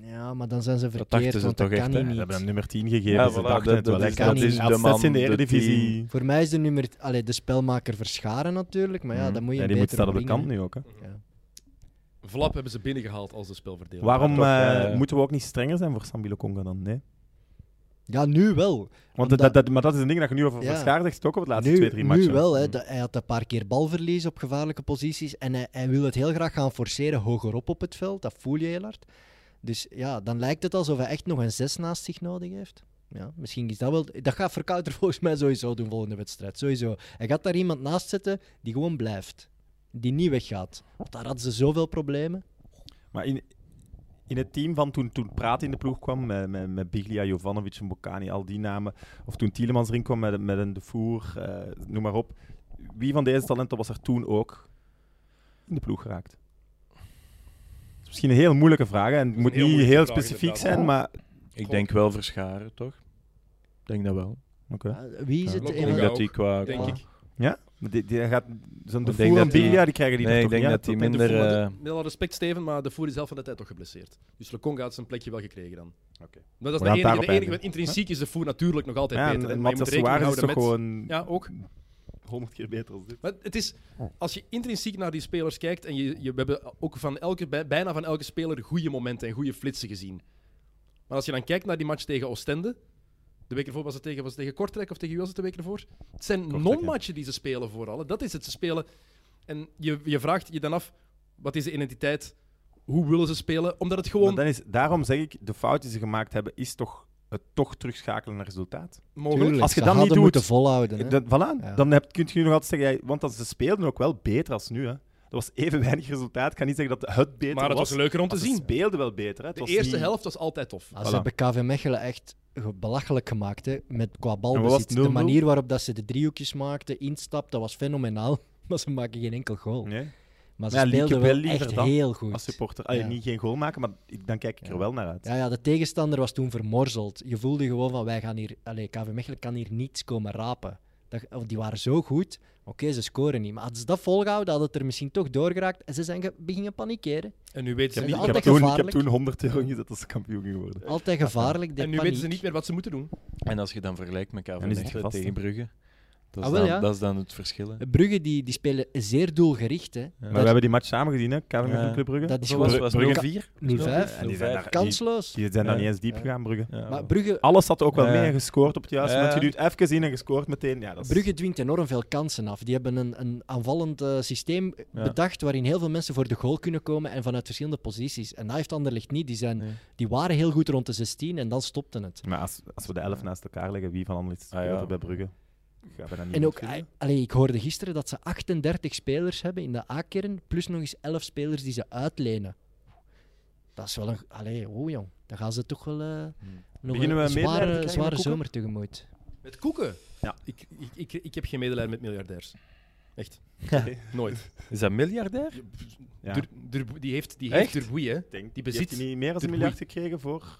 Ja, maar dan zijn ze
dachten
verkeerd,
ze
want
toch
dat
echt,
kan
hè?
hij
Ja,
Ze
niet.
hebben hem nummer 10 gegeven.
Ja,
ze
voilà,
dachten
dat-
het wel
dat
echt.
is- dat is
de
Zes in
man,
de
de
Eredivisie.
Voor mij is de nummer... Allee, de spelmaker verscharen natuurlijk, maar ja, dan moet
Mhm.
je
Ja,
een
die moet
betere
staan op de
winger
kant nu ook. Hè.
Vlap hebben ze binnengehaald als de spelverdeler.
Waarom
toch,
eh,
eh,
moeten we ook niet strenger zijn voor Sambi Lokonga dan? Nee.
Ja, nu wel.
Want
Omdat-
dat, dat, maar dat is een ding dat je nu over
Ja.
Verschaar zegt, ook op de laatste
nu,
twee, drie
nu
matchen.
wel. Hè. Dat- hij had een paar keer balverlies op gevaarlijke posities. En hij, hij wil het heel graag gaan forceren hogerop op het veld. Dat voel je heel hard. Dus ja, dan lijkt het alsof hij echt nog een zes naast zich nodig heeft. Ja, misschien is dat wel... Dat gaat Verkouter volgens mij sowieso doen volgende wedstrijd. Sowieso. Hij gaat daar iemand naast zetten die gewoon blijft. Die niet weggaat. Want daar hadden ze zoveel problemen.
Maar in, in het team van toen, toen Praat in de ploeg kwam, met, met, met Biglia, Jovanovic en Bocani, al die namen. Of toen Tielemans erin kwam met, met een De Voer, eh, noem maar op. Wie van deze talenten was er toen ook in de ploeg geraakt? Dat is misschien een heel moeilijke vraag hè, en het
is
moet
een heel
niet
moeilijke
heel
vraag,
specifiek
inderdaad.
zijn, maar...
Ik denk wel verscharen, toch? Ik denk dat wel.
Oké.
Ah, Wie is
Ja.
het?
Lokeren
Ik denk
Ja,
dat die
ook,
qua...
denk
qua-
ik.
Maar die, die gaat, zo'n De
Ik denk
Voer en
dat die-
Biglia, die krijgen die
Nee,
er
ik
toch
denk
niet
dat
uit?
die
denk de
minder...
voer-
eh,
Met alle respect, Steven, maar de voer is zelf van de tijd toch geblesseerd. Dus Leconga had zijn plekje wel gekregen dan.
Oké.
Maar dat is
We gaan
de enige,
daarop
de enige
eindigen.
want intrinsiek is de voer natuurlijk nog altijd
Ja,
beter.
en, en
maar je moet
Matthias
rekening houden
Suarez is toch
met...
gewoon
Ja, ook.
100 keer beter als dit.
Maar het is, als je intrinsiek naar die spelers kijkt, en je, je, we hebben ook van elke, bij- bijna van elke speler goede momenten en goede flitsen gezien. Maar als je dan kijkt naar die match tegen Oostende, de week ervoor was het tegen, was het tegen Kortrijk, of tegen wie was het de week ervoor? Het zijn
Kortrijk,
non-matchen die ze spelen vooral. hè. Dat is het, ze spelen. En je, je vraagt je dan af, wat is de identiteit? Hoe willen ze spelen? Omdat het gewoon
Maar dan is, daarom zeg ik, de fout die ze gemaakt hebben, is toch het toch terugschakelen naar resultaat.
mogelijk
Als je
Ze
dat niet
hadden
doet-
moeten volhouden. hè.
Dan, voilà,
Ja.
dan heb, kun je nog altijd zeggen, ja, want dat, ze speelden ook wel beter als nu. Hè. Dat was even weinig resultaat. Ik kan niet zeggen dat het beter
Maar het was leuker om te
maar Ze
zien.
speelden wel beter. Hè. Het
De
was
eerste
niet-
helft was altijd tof.
Maar Ze
Voilà.
hebben KV Mechelen echt ge- belachelijk gemaakt hè, met qua
En wat was
balbezit.
het,
De
0-0?
manier waarop dat ze de driehoekjes maakten, instap, dat was fenomenaal. Maar ze maken geen enkel goal.
Nee.
Maar ze
Ja, Lieke
speelden
wel
wel
liever
echt
dan
heel goed.
Als supporter. Allee,
Ja.
niet geen goal maken, maar ik- dan kijk ik er wel naar uit.
Ja, ja, de tegenstander was toen vermorzeld. Je voelde gewoon van, wij gaan hier... Allee, KV Mechelen kan hier niets komen rapen. Dat, of die waren zo goed. Oké, ze scoren niet. Maar hadden ze dat volgehouden, hadden het er misschien toch doorgeraakt. En ze zijn ge- beginnen panikeren.
En nu weten ze
Ik
niet,
heb,
Zijn ze
ik, heb
altijd
toen, ik heb
gevaarlijk?
toen 100 euro ingezet als ze kampioen geworden.
Altijd gevaarlijk, de
en nu
paniek.
weten ze niet meer wat ze moeten doen.
En als je dan vergelijkt met KV
Dan is het
Mechelen
gevast,
tegen
hè?
Brugge, dat is,
Ah, wel,
dan,
ja.
dat is dan het verschil. hè.
Brugge, die, die spelen zeer doelgericht. Hè.
Maar we hebben die match samen gezien, hè? KV met
Ja.
Club Brugge.
Dat is
Zo
gewoon
was het, was het
Brugge
0-4.
0-5.
En die zijn, daar, die,
Kansloos.
die Ah, zijn daar
Ja.
niet eens diep
Ja.
gegaan, Brugge.
Ja,
Maar Brugge,
Alles zat ook wel
Ja.
mee en gescoord op het juiste
Ja.
moment. Je duwt even in en gescoord meteen. Ja, dat is-
Brugge dwingt enorm veel kansen af. Die hebben een, een aanvallend eh, systeem
Ja.
bedacht waarin heel veel mensen voor de goal kunnen komen en vanuit verschillende posities. En dat heeft Anderlecht niet. Die, zijn,
Nee.
die waren heel goed rond de 16 en dan stopte het.
Maar als, als we de elf naast elkaar leggen, wie van Anderlecht is
Ah, ja.
beter bij Brugge? Gaan we dat niet
En ook,
vinden?
eh, allee, ik hoorde gisteren dat ze 38 spelers hebben in de A-kern, plus nog eens 11 spelers die ze uitlenen. Dat is wel een... Allee, oeh jong. Dan gaan ze toch wel
Hmm.
eh, nog
Beginnen we
een
een medelijden te krijgen
zware,
met
zware
Koeken?
zomer tegemoet.
Met koeken?
Ja.
Ik, ik, ik, ik heb geen medelijden met miljardairs. Echt. Nooit.
Is dat miljardair?
Ja.
Dur- Durbu- die heeft, die heeft
Echt?
Durbuy, hè?
Ik denk,
die
heeft
bezit
hij niet meer dan
de
een miljard gekregen voor...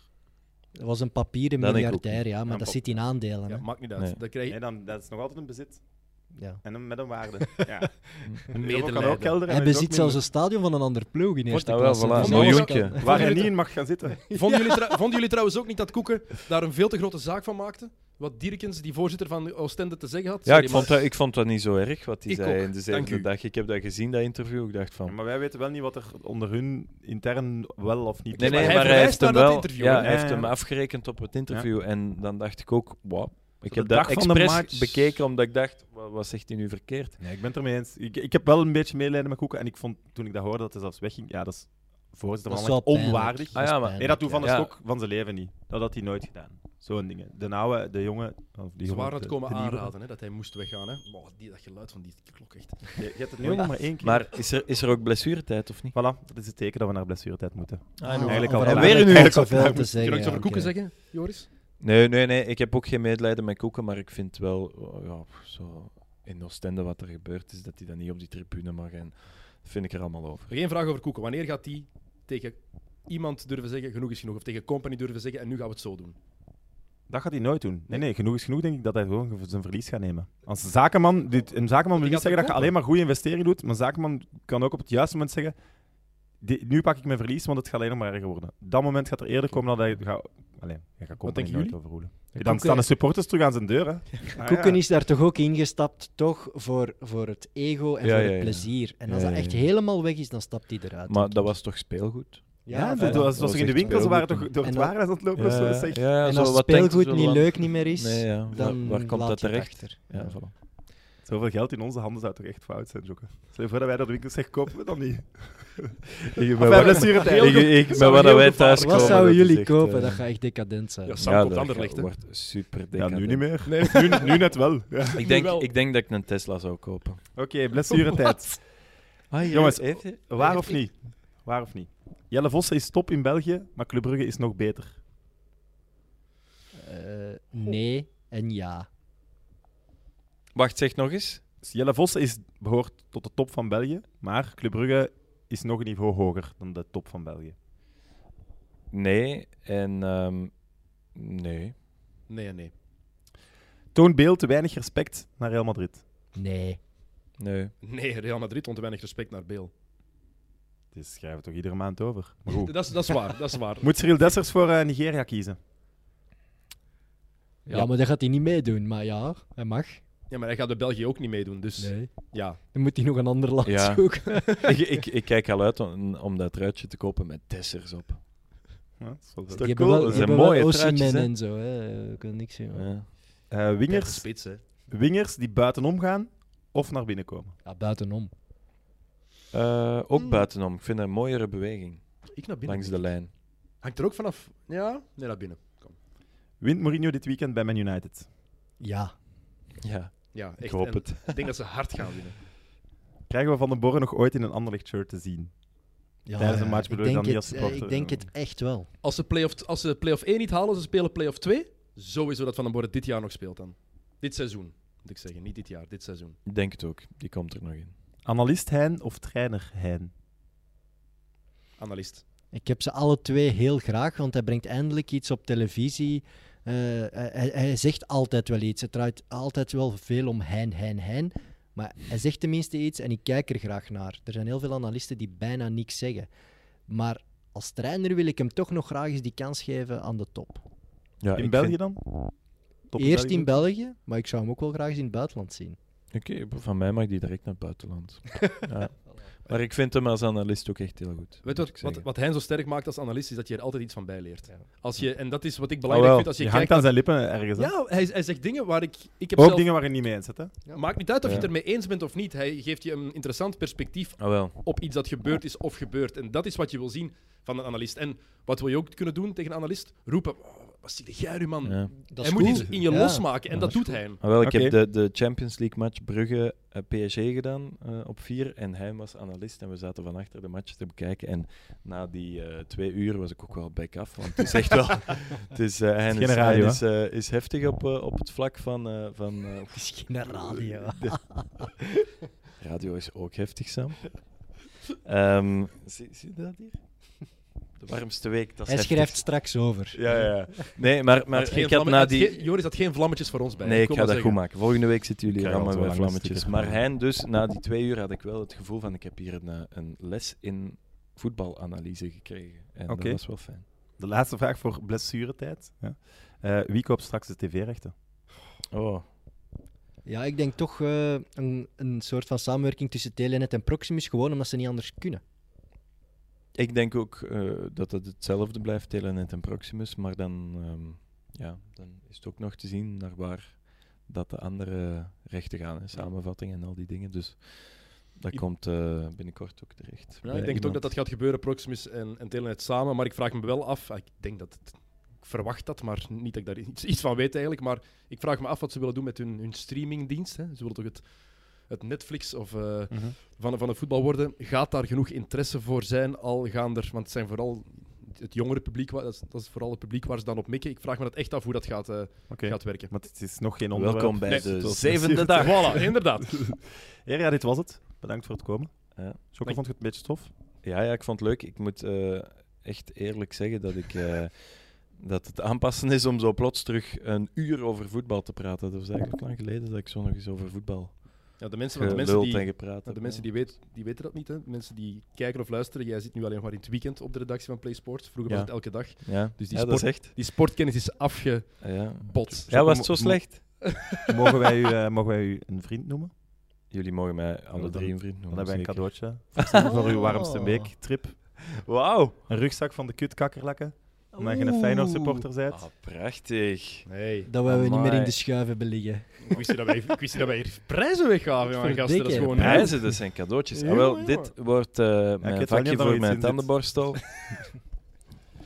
Dat was een papieren
Dat denk ik ook
miljardair, ja, maar
Ja,
dat
pap-
zit in aandelen.
Ja,
hè.
maakt niet uit.
Nee.
Dat krijg
Nee,
je
dan, dat is nog altijd een bezit.
Ja.
En een, met een waarde.
een
Ja. Dat kan ook
medelijden.
kelderen.
Hij bezit zelfs een stadion van een ander ploeg in eerste
Nou wel,
klasse.
voilà,
een
Dus dat is
miljoentje.
kan-
Waar hij niet in mag gaan zitten.
Vonden, jullie trou- vonden jullie trouwens ook niet dat Koeken daar een veel te grote zaak van maakte? Wat Dierkens, die voorzitter van Oostende, te zeggen had?
Ja,
Sorry,
ik vond,
maar-
dat, ik vond dat niet zo erg wat hij
Ik
zei
ook,
in de
dank
zevende
u.
dag. Ik heb dat gezien, dat interview. Ik dacht van.
maar wij weten wel niet wat er onder hun intern wel of niet...
Nee,
maar
nee,
hij
maar hij
verwijst
heeft hem
naar dat
wel.
interview,
Ja,
hè?
hij heeft
Ja, ja.
hem afgerekend op het interview. En dan dacht ik ook, wow. Ik
de
heb dat
dag van de match-
expres bekeken omdat ik dacht, wa- wat zegt hij nu verkeerd?
eh,
Nee, ik ben het ermee eens. Ik, ik heb wel een beetje medelijden met Koeken. En ik vond, toen ik dat hoorde, dat hij zelfs wegging... Ja, dat is voorzitter
Dat
van
is wel
Anderlecht
pijnlijk.
onwaardig.
Ah, ja, maar-
Nee, dat doet Van der
Ja.
Stok van zijn leven niet. Dat had hij nooit gedaan. Zo'n dingen. De oude, de jongen... Of die
Ze
jongen,
waren het
de-
komen
de nieuwe.
aanraden, hè, dat hij moest weggaan. Hè. Boah, die, dat geluid van die klok, echt.
Je, je hebt het nu nog maar één keer.
Maar is er, is er ook blessuretijd of niet?
Voilà, dat is het teken dat we naar blessuretijd moeten.
Ah,
Eigenlijk
over
al
Anderlecht
weer een
valt
uur.
zoveel te
Kun je
zeggen.
nog iets over
ja,
Koeken
oké.
zeggen, Joris?
Nee, nee, nee. Ik heb ook geen medelijden met Koeken, maar ik vind wel, oh, ja, zo in Oostende wat er gebeurd is, dat hij dan niet op die tribune mag. En dat vind ik er allemaal over.
Geen vraag over Koeken. Wanneer gaat die tegen iemand durven zeggen, genoeg is genoeg? Of tegen Company durven zeggen, en nu gaan we het zo doen?
Dat gaat hij nooit doen. Nee, nee, genoeg is genoeg, denk ik, dat hij gewoon ge- zijn verlies gaat nemen. Als een zakenman, dit, een zakenman wil
Die gaat
niet zeggen dat je
verkopen.
alleen maar goede investeringen doet, maar een zakenman kan ook op het juiste moment zeggen, "Di- nu pak ik mijn verlies, want het gaat alleen nog maar erger worden. Dat moment gaat er eerder komen dan dat hij gaat... Alleen, hij gaat komen
denken
nooit
jullie?
overroelen. Dan
Koeken-
staan de supporters terug aan zijn deur, hè. Ah,
Koeken
ja.
is daar toch ook ingestapt, toch voor, voor het ego en
Ja,
voor
ja,
het
ja.
plezier. En als
Ja,
dat
ja,
echt
ja.
helemaal weg is, dan stapt hij eruit.
Maar dat was toch speelgoed?
Ja,
Ja,
dat-
voilà.
dat was,
Dat
was
was
toch in de
echt
winkel, ze waren
speelgoed.
toch door het
En dat-
waren aan het lopen of zo, zeg.
ja,
en
zo,
als
wat denkt u
speelgoed
zo
niet
lang-
leuk niet meer is,
Nee, ja.
dan
waar, waar komt
laat
dat
je het
terecht?
achter.
Ja,
Ja.
voilà.
Zoveel geld in onze handen zou toch echt fout zijn, Jokke? Stel je voor dat wij naar de winkel zeggen, kopen we dan niet.
Ik,
Of wij blessure tijd.
ik, ik,
zou
met wat
heel
wij
gevaarlijk
thuis
zijn.
komen,
Wat zouden
dat is
jullie
echt,
kopen?
eh,
Dat gaat echt decadent zijn.
Ja, Sam
Ja,
komt
dat
Anderlecht,
gaat-
hè.
wordt super
Ja,
dik.
nu niet meer.
Nee.
Nu, nu net wel. Ja.
Ik denk,
wel.
ik denk dat ik een Tesla zou kopen.
Oké, blessure tijd.
Ah,
Jongens,
even.
Waar of niet? Waar of niet? Jelle Vossen is top in België, maar Club Brugge is nog beter.
Eh, nee en ja.
Wacht, zeg nog eens.
Dus Jelle Vossen is, behoort tot de top van België, maar Club Brugge is nog een niveau hoger dan de top van België.
Nee en ehm, nee.
Nee, nee.
Toon Beel te weinig respect naar Real Madrid.
Nee.
Nee.
Nee, Real Madrid toont te weinig respect naar Beel.
Dus schrijven we toch iedere maand over. Maar goed.
Dat is, dat is waar, dat is waar.
Moet Cyril Dessers voor eh, Nigeria kiezen?
Ja. maar dat gaat hij niet meedoen. Maar ja, hij mag.
Ja, maar hij gaat bij België ook niet meedoen, dus
Nee.
ja.
Dan moet hij nog een ander land
Ja.
zoeken.
ik, ik, ik kijk al uit om, om dat truitje te kopen met Tessers op.
Ja, dat is wel zo.
Die
toch
hebben
cool?
wel-
Dat
die
zijn
hebben wel
mooie
Osimhen
truitjes, hè?
en zo. Hè. Ik kan niks zien. hoor.
Ja.
Eh,
Derde
wingers,
Spits, hè.
wingers die buitenom gaan of naar binnen komen.
Ja, buitenom.
Eh, ook
Mm.
buitenom. Ik vind dat een mooiere beweging
Ik naar binnen.
langs de lijn.
Hangt er ook vanaf. Ja, nee, naar binnen.
Wint Mourinho dit weekend bij Man United?
Ja.
Ja,
Ja, echt.
ik hoop
En
het.
Ik denk dat ze hard gaan winnen.
Krijgen we Van den Borren nog ooit in een Anderlecht shirt te zien?
ja
Tijdens een match
ik
bedoel je
denk
dan niet als
het-
supporter,
eh, Ik denk
ja.
het echt wel.
Als ze play-off, als ze play-off 1 niet halen, ze spelen play-off 2. Sowieso dat Van den Borre dit jaar nog speelt dan. Dit seizoen, moet ik zeggen. Niet dit jaar, dit seizoen.
Ik denk het ook. Die komt er nog in.
Analist Hein of trainer Hein?
Analist.
Ik heb ze alle twee heel graag, want hij brengt eindelijk iets op televisie. Eh, hij, hij zegt altijd wel iets. Het draait altijd wel veel om hen, hen, hen. Maar hij zegt tenminste iets en ik kijk er graag naar. Er zijn heel veel analisten die bijna niks zeggen. Maar als trainer wil ik hem toch nog graag eens die kans geven aan de top.
Ja,
In
ik
België
vind-
dan? Top
Eerst in België, maar ik zou hem ook wel graag eens in het buitenland zien.
Oké, van mij mag die direct naar het buitenland. ja. Maar ik vind hem als analist ook echt heel goed.
Weet je wat,
moet ik
wat,
zeggen.
wat hen zo sterk maakt als analist, is dat je er altijd iets van bijleert. Als je, en dat is wat ik
Oh,
belangrijk
wel.
vind. Als je,
je hangt
kijkt...
aan zijn lippen ergens. hè?
Ja, hij, hij zegt dingen waar ik... ik heb
Ook
zelf-
dingen waar je niet mee eens zit. Hè?
Maakt niet uit of je het
Ja.
ermee eens bent of niet. Hij geeft je een interessant perspectief
Ah, wel.
op iets dat gebeurd is of gebeurt. En dat is wat je wil zien van een analist. En wat wil je ook kunnen doen tegen een analist? Roepen, "Oh, wat zie jij nu, man?
Ja.
Dat
hij moet iets in je losmaken en dat, doet hij.
Ah, wel, ik
Oké.
heb de, de Champions League match Brugge eh, PSG gedaan eh, op 4 en hij was analist en we zaten van achter de match te bekijken en na die eh, twee uur was ik ook wel back af, want het is echt wel het is, eh hij
geen
is,
radio,
hij is, eh, is heftig op, eh, op het vlak van, eh, van eh,
Het is geen radio.
radio is ook heftig Sam Ehm, zie, zie je dat hier? De warmste week, dat is
Hij
heftig.
schrijft straks over.
ja, ja. Nee, maar, maar
Had geen
ik had
vlammen-
na
had
die...
geen- Joris had geen vlammetjes voor ons bij.
Nee, ik
kom
ga
maar
dat goed
zeggen.
maken. Volgende week zitten jullie
Ik
hier
krijg
allemaal met
altijd wel een
vlammetjes.
sticker.
Maar Hein, dus na die twee uur had ik wel het gevoel van ik heb hier een, eh, een les in voetbalanalyse gekregen. En
Oké.
dat was wel fijn.
De laatste vraag voor blessuretijd. Ja. Eh, wie koopt straks de tv-rechten?
Oh,
Ja, ik denk toch eh, een, een soort van samenwerking tussen Telenet en Proximus, gewoon omdat ze niet anders kunnen.
ik denk ook eh, dat het hetzelfde blijft, Telenet en Proximus. Maar dan, ehm, ja, dan is het ook nog te zien naar waar dat de andere rechten gaan. Hè, samenvatting en al die dingen. Dus dat
Ik-
komt eh, binnenkort ook terecht.
Ja, ik denk toch dat dat gaat gebeuren, Proximus en, en Telenet samen. Maar ik vraag me wel af, ik denk dat het- ik verwacht dat, maar niet dat ik daar iets, iets van weet eigenlijk. Maar ik vraag me af wat ze willen doen met hun, hun streamingdienst. Hè. Ze willen toch het, het Netflix of, eh, van, van het voetbal worden. Gaat daar genoeg interesse voor zijn? Al gaan er, want het zijn vooral het jongere publiek, wa- dat is, dat is vooral het publiek waar ze dan op mikken. Ik vraag me dat echt af hoe dat gaat, eh,
Oké.
gaat werken.
Want het is nog geen onderwerp.
Welkom bij
Nee,
het
de
was
zevende
blessure.
dag.
Voilà, inderdaad.
Heren, ja, dit was het. Bedankt voor het komen.
Ja.
Choco, vond je het een beetje tof?
Ja, ja, ik vond het leuk. Ik moet eh, echt eerlijk zeggen dat ik. eh, dat het aanpassen is om zo plots terug een uur over voetbal te praten. Dat was eigenlijk lang geleden dat ik zo nog eens over voetbal
Ja, de mensen, want de mensen
geluld
die,
en gepraat
Nou,
heb.
de mensen die, weet, die weten dat niet. Hè? De mensen die kijken of luisteren. Jij zit nu alleen maar in het weekend op de redactie van PlaySport. Vroeger
Ja.
was het elke dag.
Ja,
Dus die
ja, dat is echt. ah,
Die sportkennis is afgebot.
Ja. ja,
kom,
was het zo
Dus mo-
slecht?
Mogen wij u, eh, mogen wij u een vriend noemen?
Jullie mogen mij alle
dan-
drie een vriend
Dan
noemen.
hebben wij een
zeker.
cadeautje voor, voor uw warmste
Oh.
weektrip.
Wauw!
Een rugzak van de kutkakkerlakken. Omdat je een Feyenoord supporter bent. Eh,
Ah, prachtig.
Nee.
Dat wij we niet meer in de
Amai.
schuiven hebben liggen.
Ik wist niet dat wij, ik wist niet dat wij hier prijzen weggaven, jongen, gasten. Dat is
Verdikke.
gewoon...
Prijzen, dat zijn cadeautjes. Ah,
Ja,
wel,
ja.
dit wordt eh,
weet wel
mijn
niet of
vakje
er
voor
iets in
mijn
zit.
tandenborstel.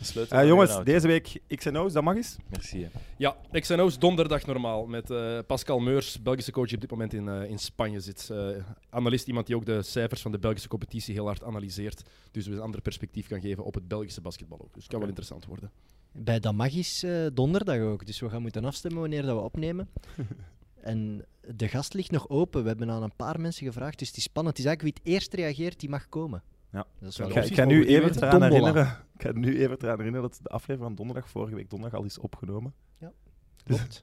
Sluiten
Eh,
we
jongens,
weer uit.
deze week XNO's, dat mag eens.
Merci. hè.
Ja, XNO's donderdag normaal. Met eh, Pascal Meurs, Belgische coach die op dit moment in, eh, in Spanje zit. Eh, analist, iemand die ook de cijfers van de Belgische competitie heel hard analyseert. Dus we een ander perspectief kan geven op het Belgische basketbal ook. Dus het kan wel interessant worden.
Bij dat magisch eh, donderdag ook. Dus we gaan moeten afstemmen wanneer dat we opnemen. en de gast ligt nog open. We hebben aan een paar mensen gevraagd. Dus het is spannend. Het is eigenlijk wie het eerst reageert, die mag komen.
Ja.
Dat is
Ja,
wel
Ik
de
ga,
goed.
ik
opties
ga nu
mogen we
even
doen,
hè?
eraan
Tombola.
herinneren. Ik ga nu even eraan herinneren dat de aflevering van donderdag, vorige week donderdag, al is opgenomen.
Klopt.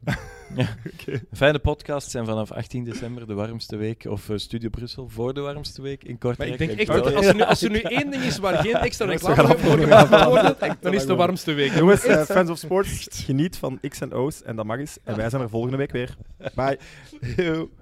Fijne podcasts zijn vanaf 18 december de warmste week. Of eh, Studio Brussel voor de warmste week in
Maar
Kortrijk.
ik denk echt
wel.
dat als er nu, als er nu één ding is waar geen extra
Jongens, we
reclame
gaan
voor
afronden, we
gemaakt
gaan
wordt,
afronden.
dan is het de warmste week.
Jongens, eh, fans of sports, geniet van X en O's en dat mag eens. En wij zijn er volgende week weer. Bye.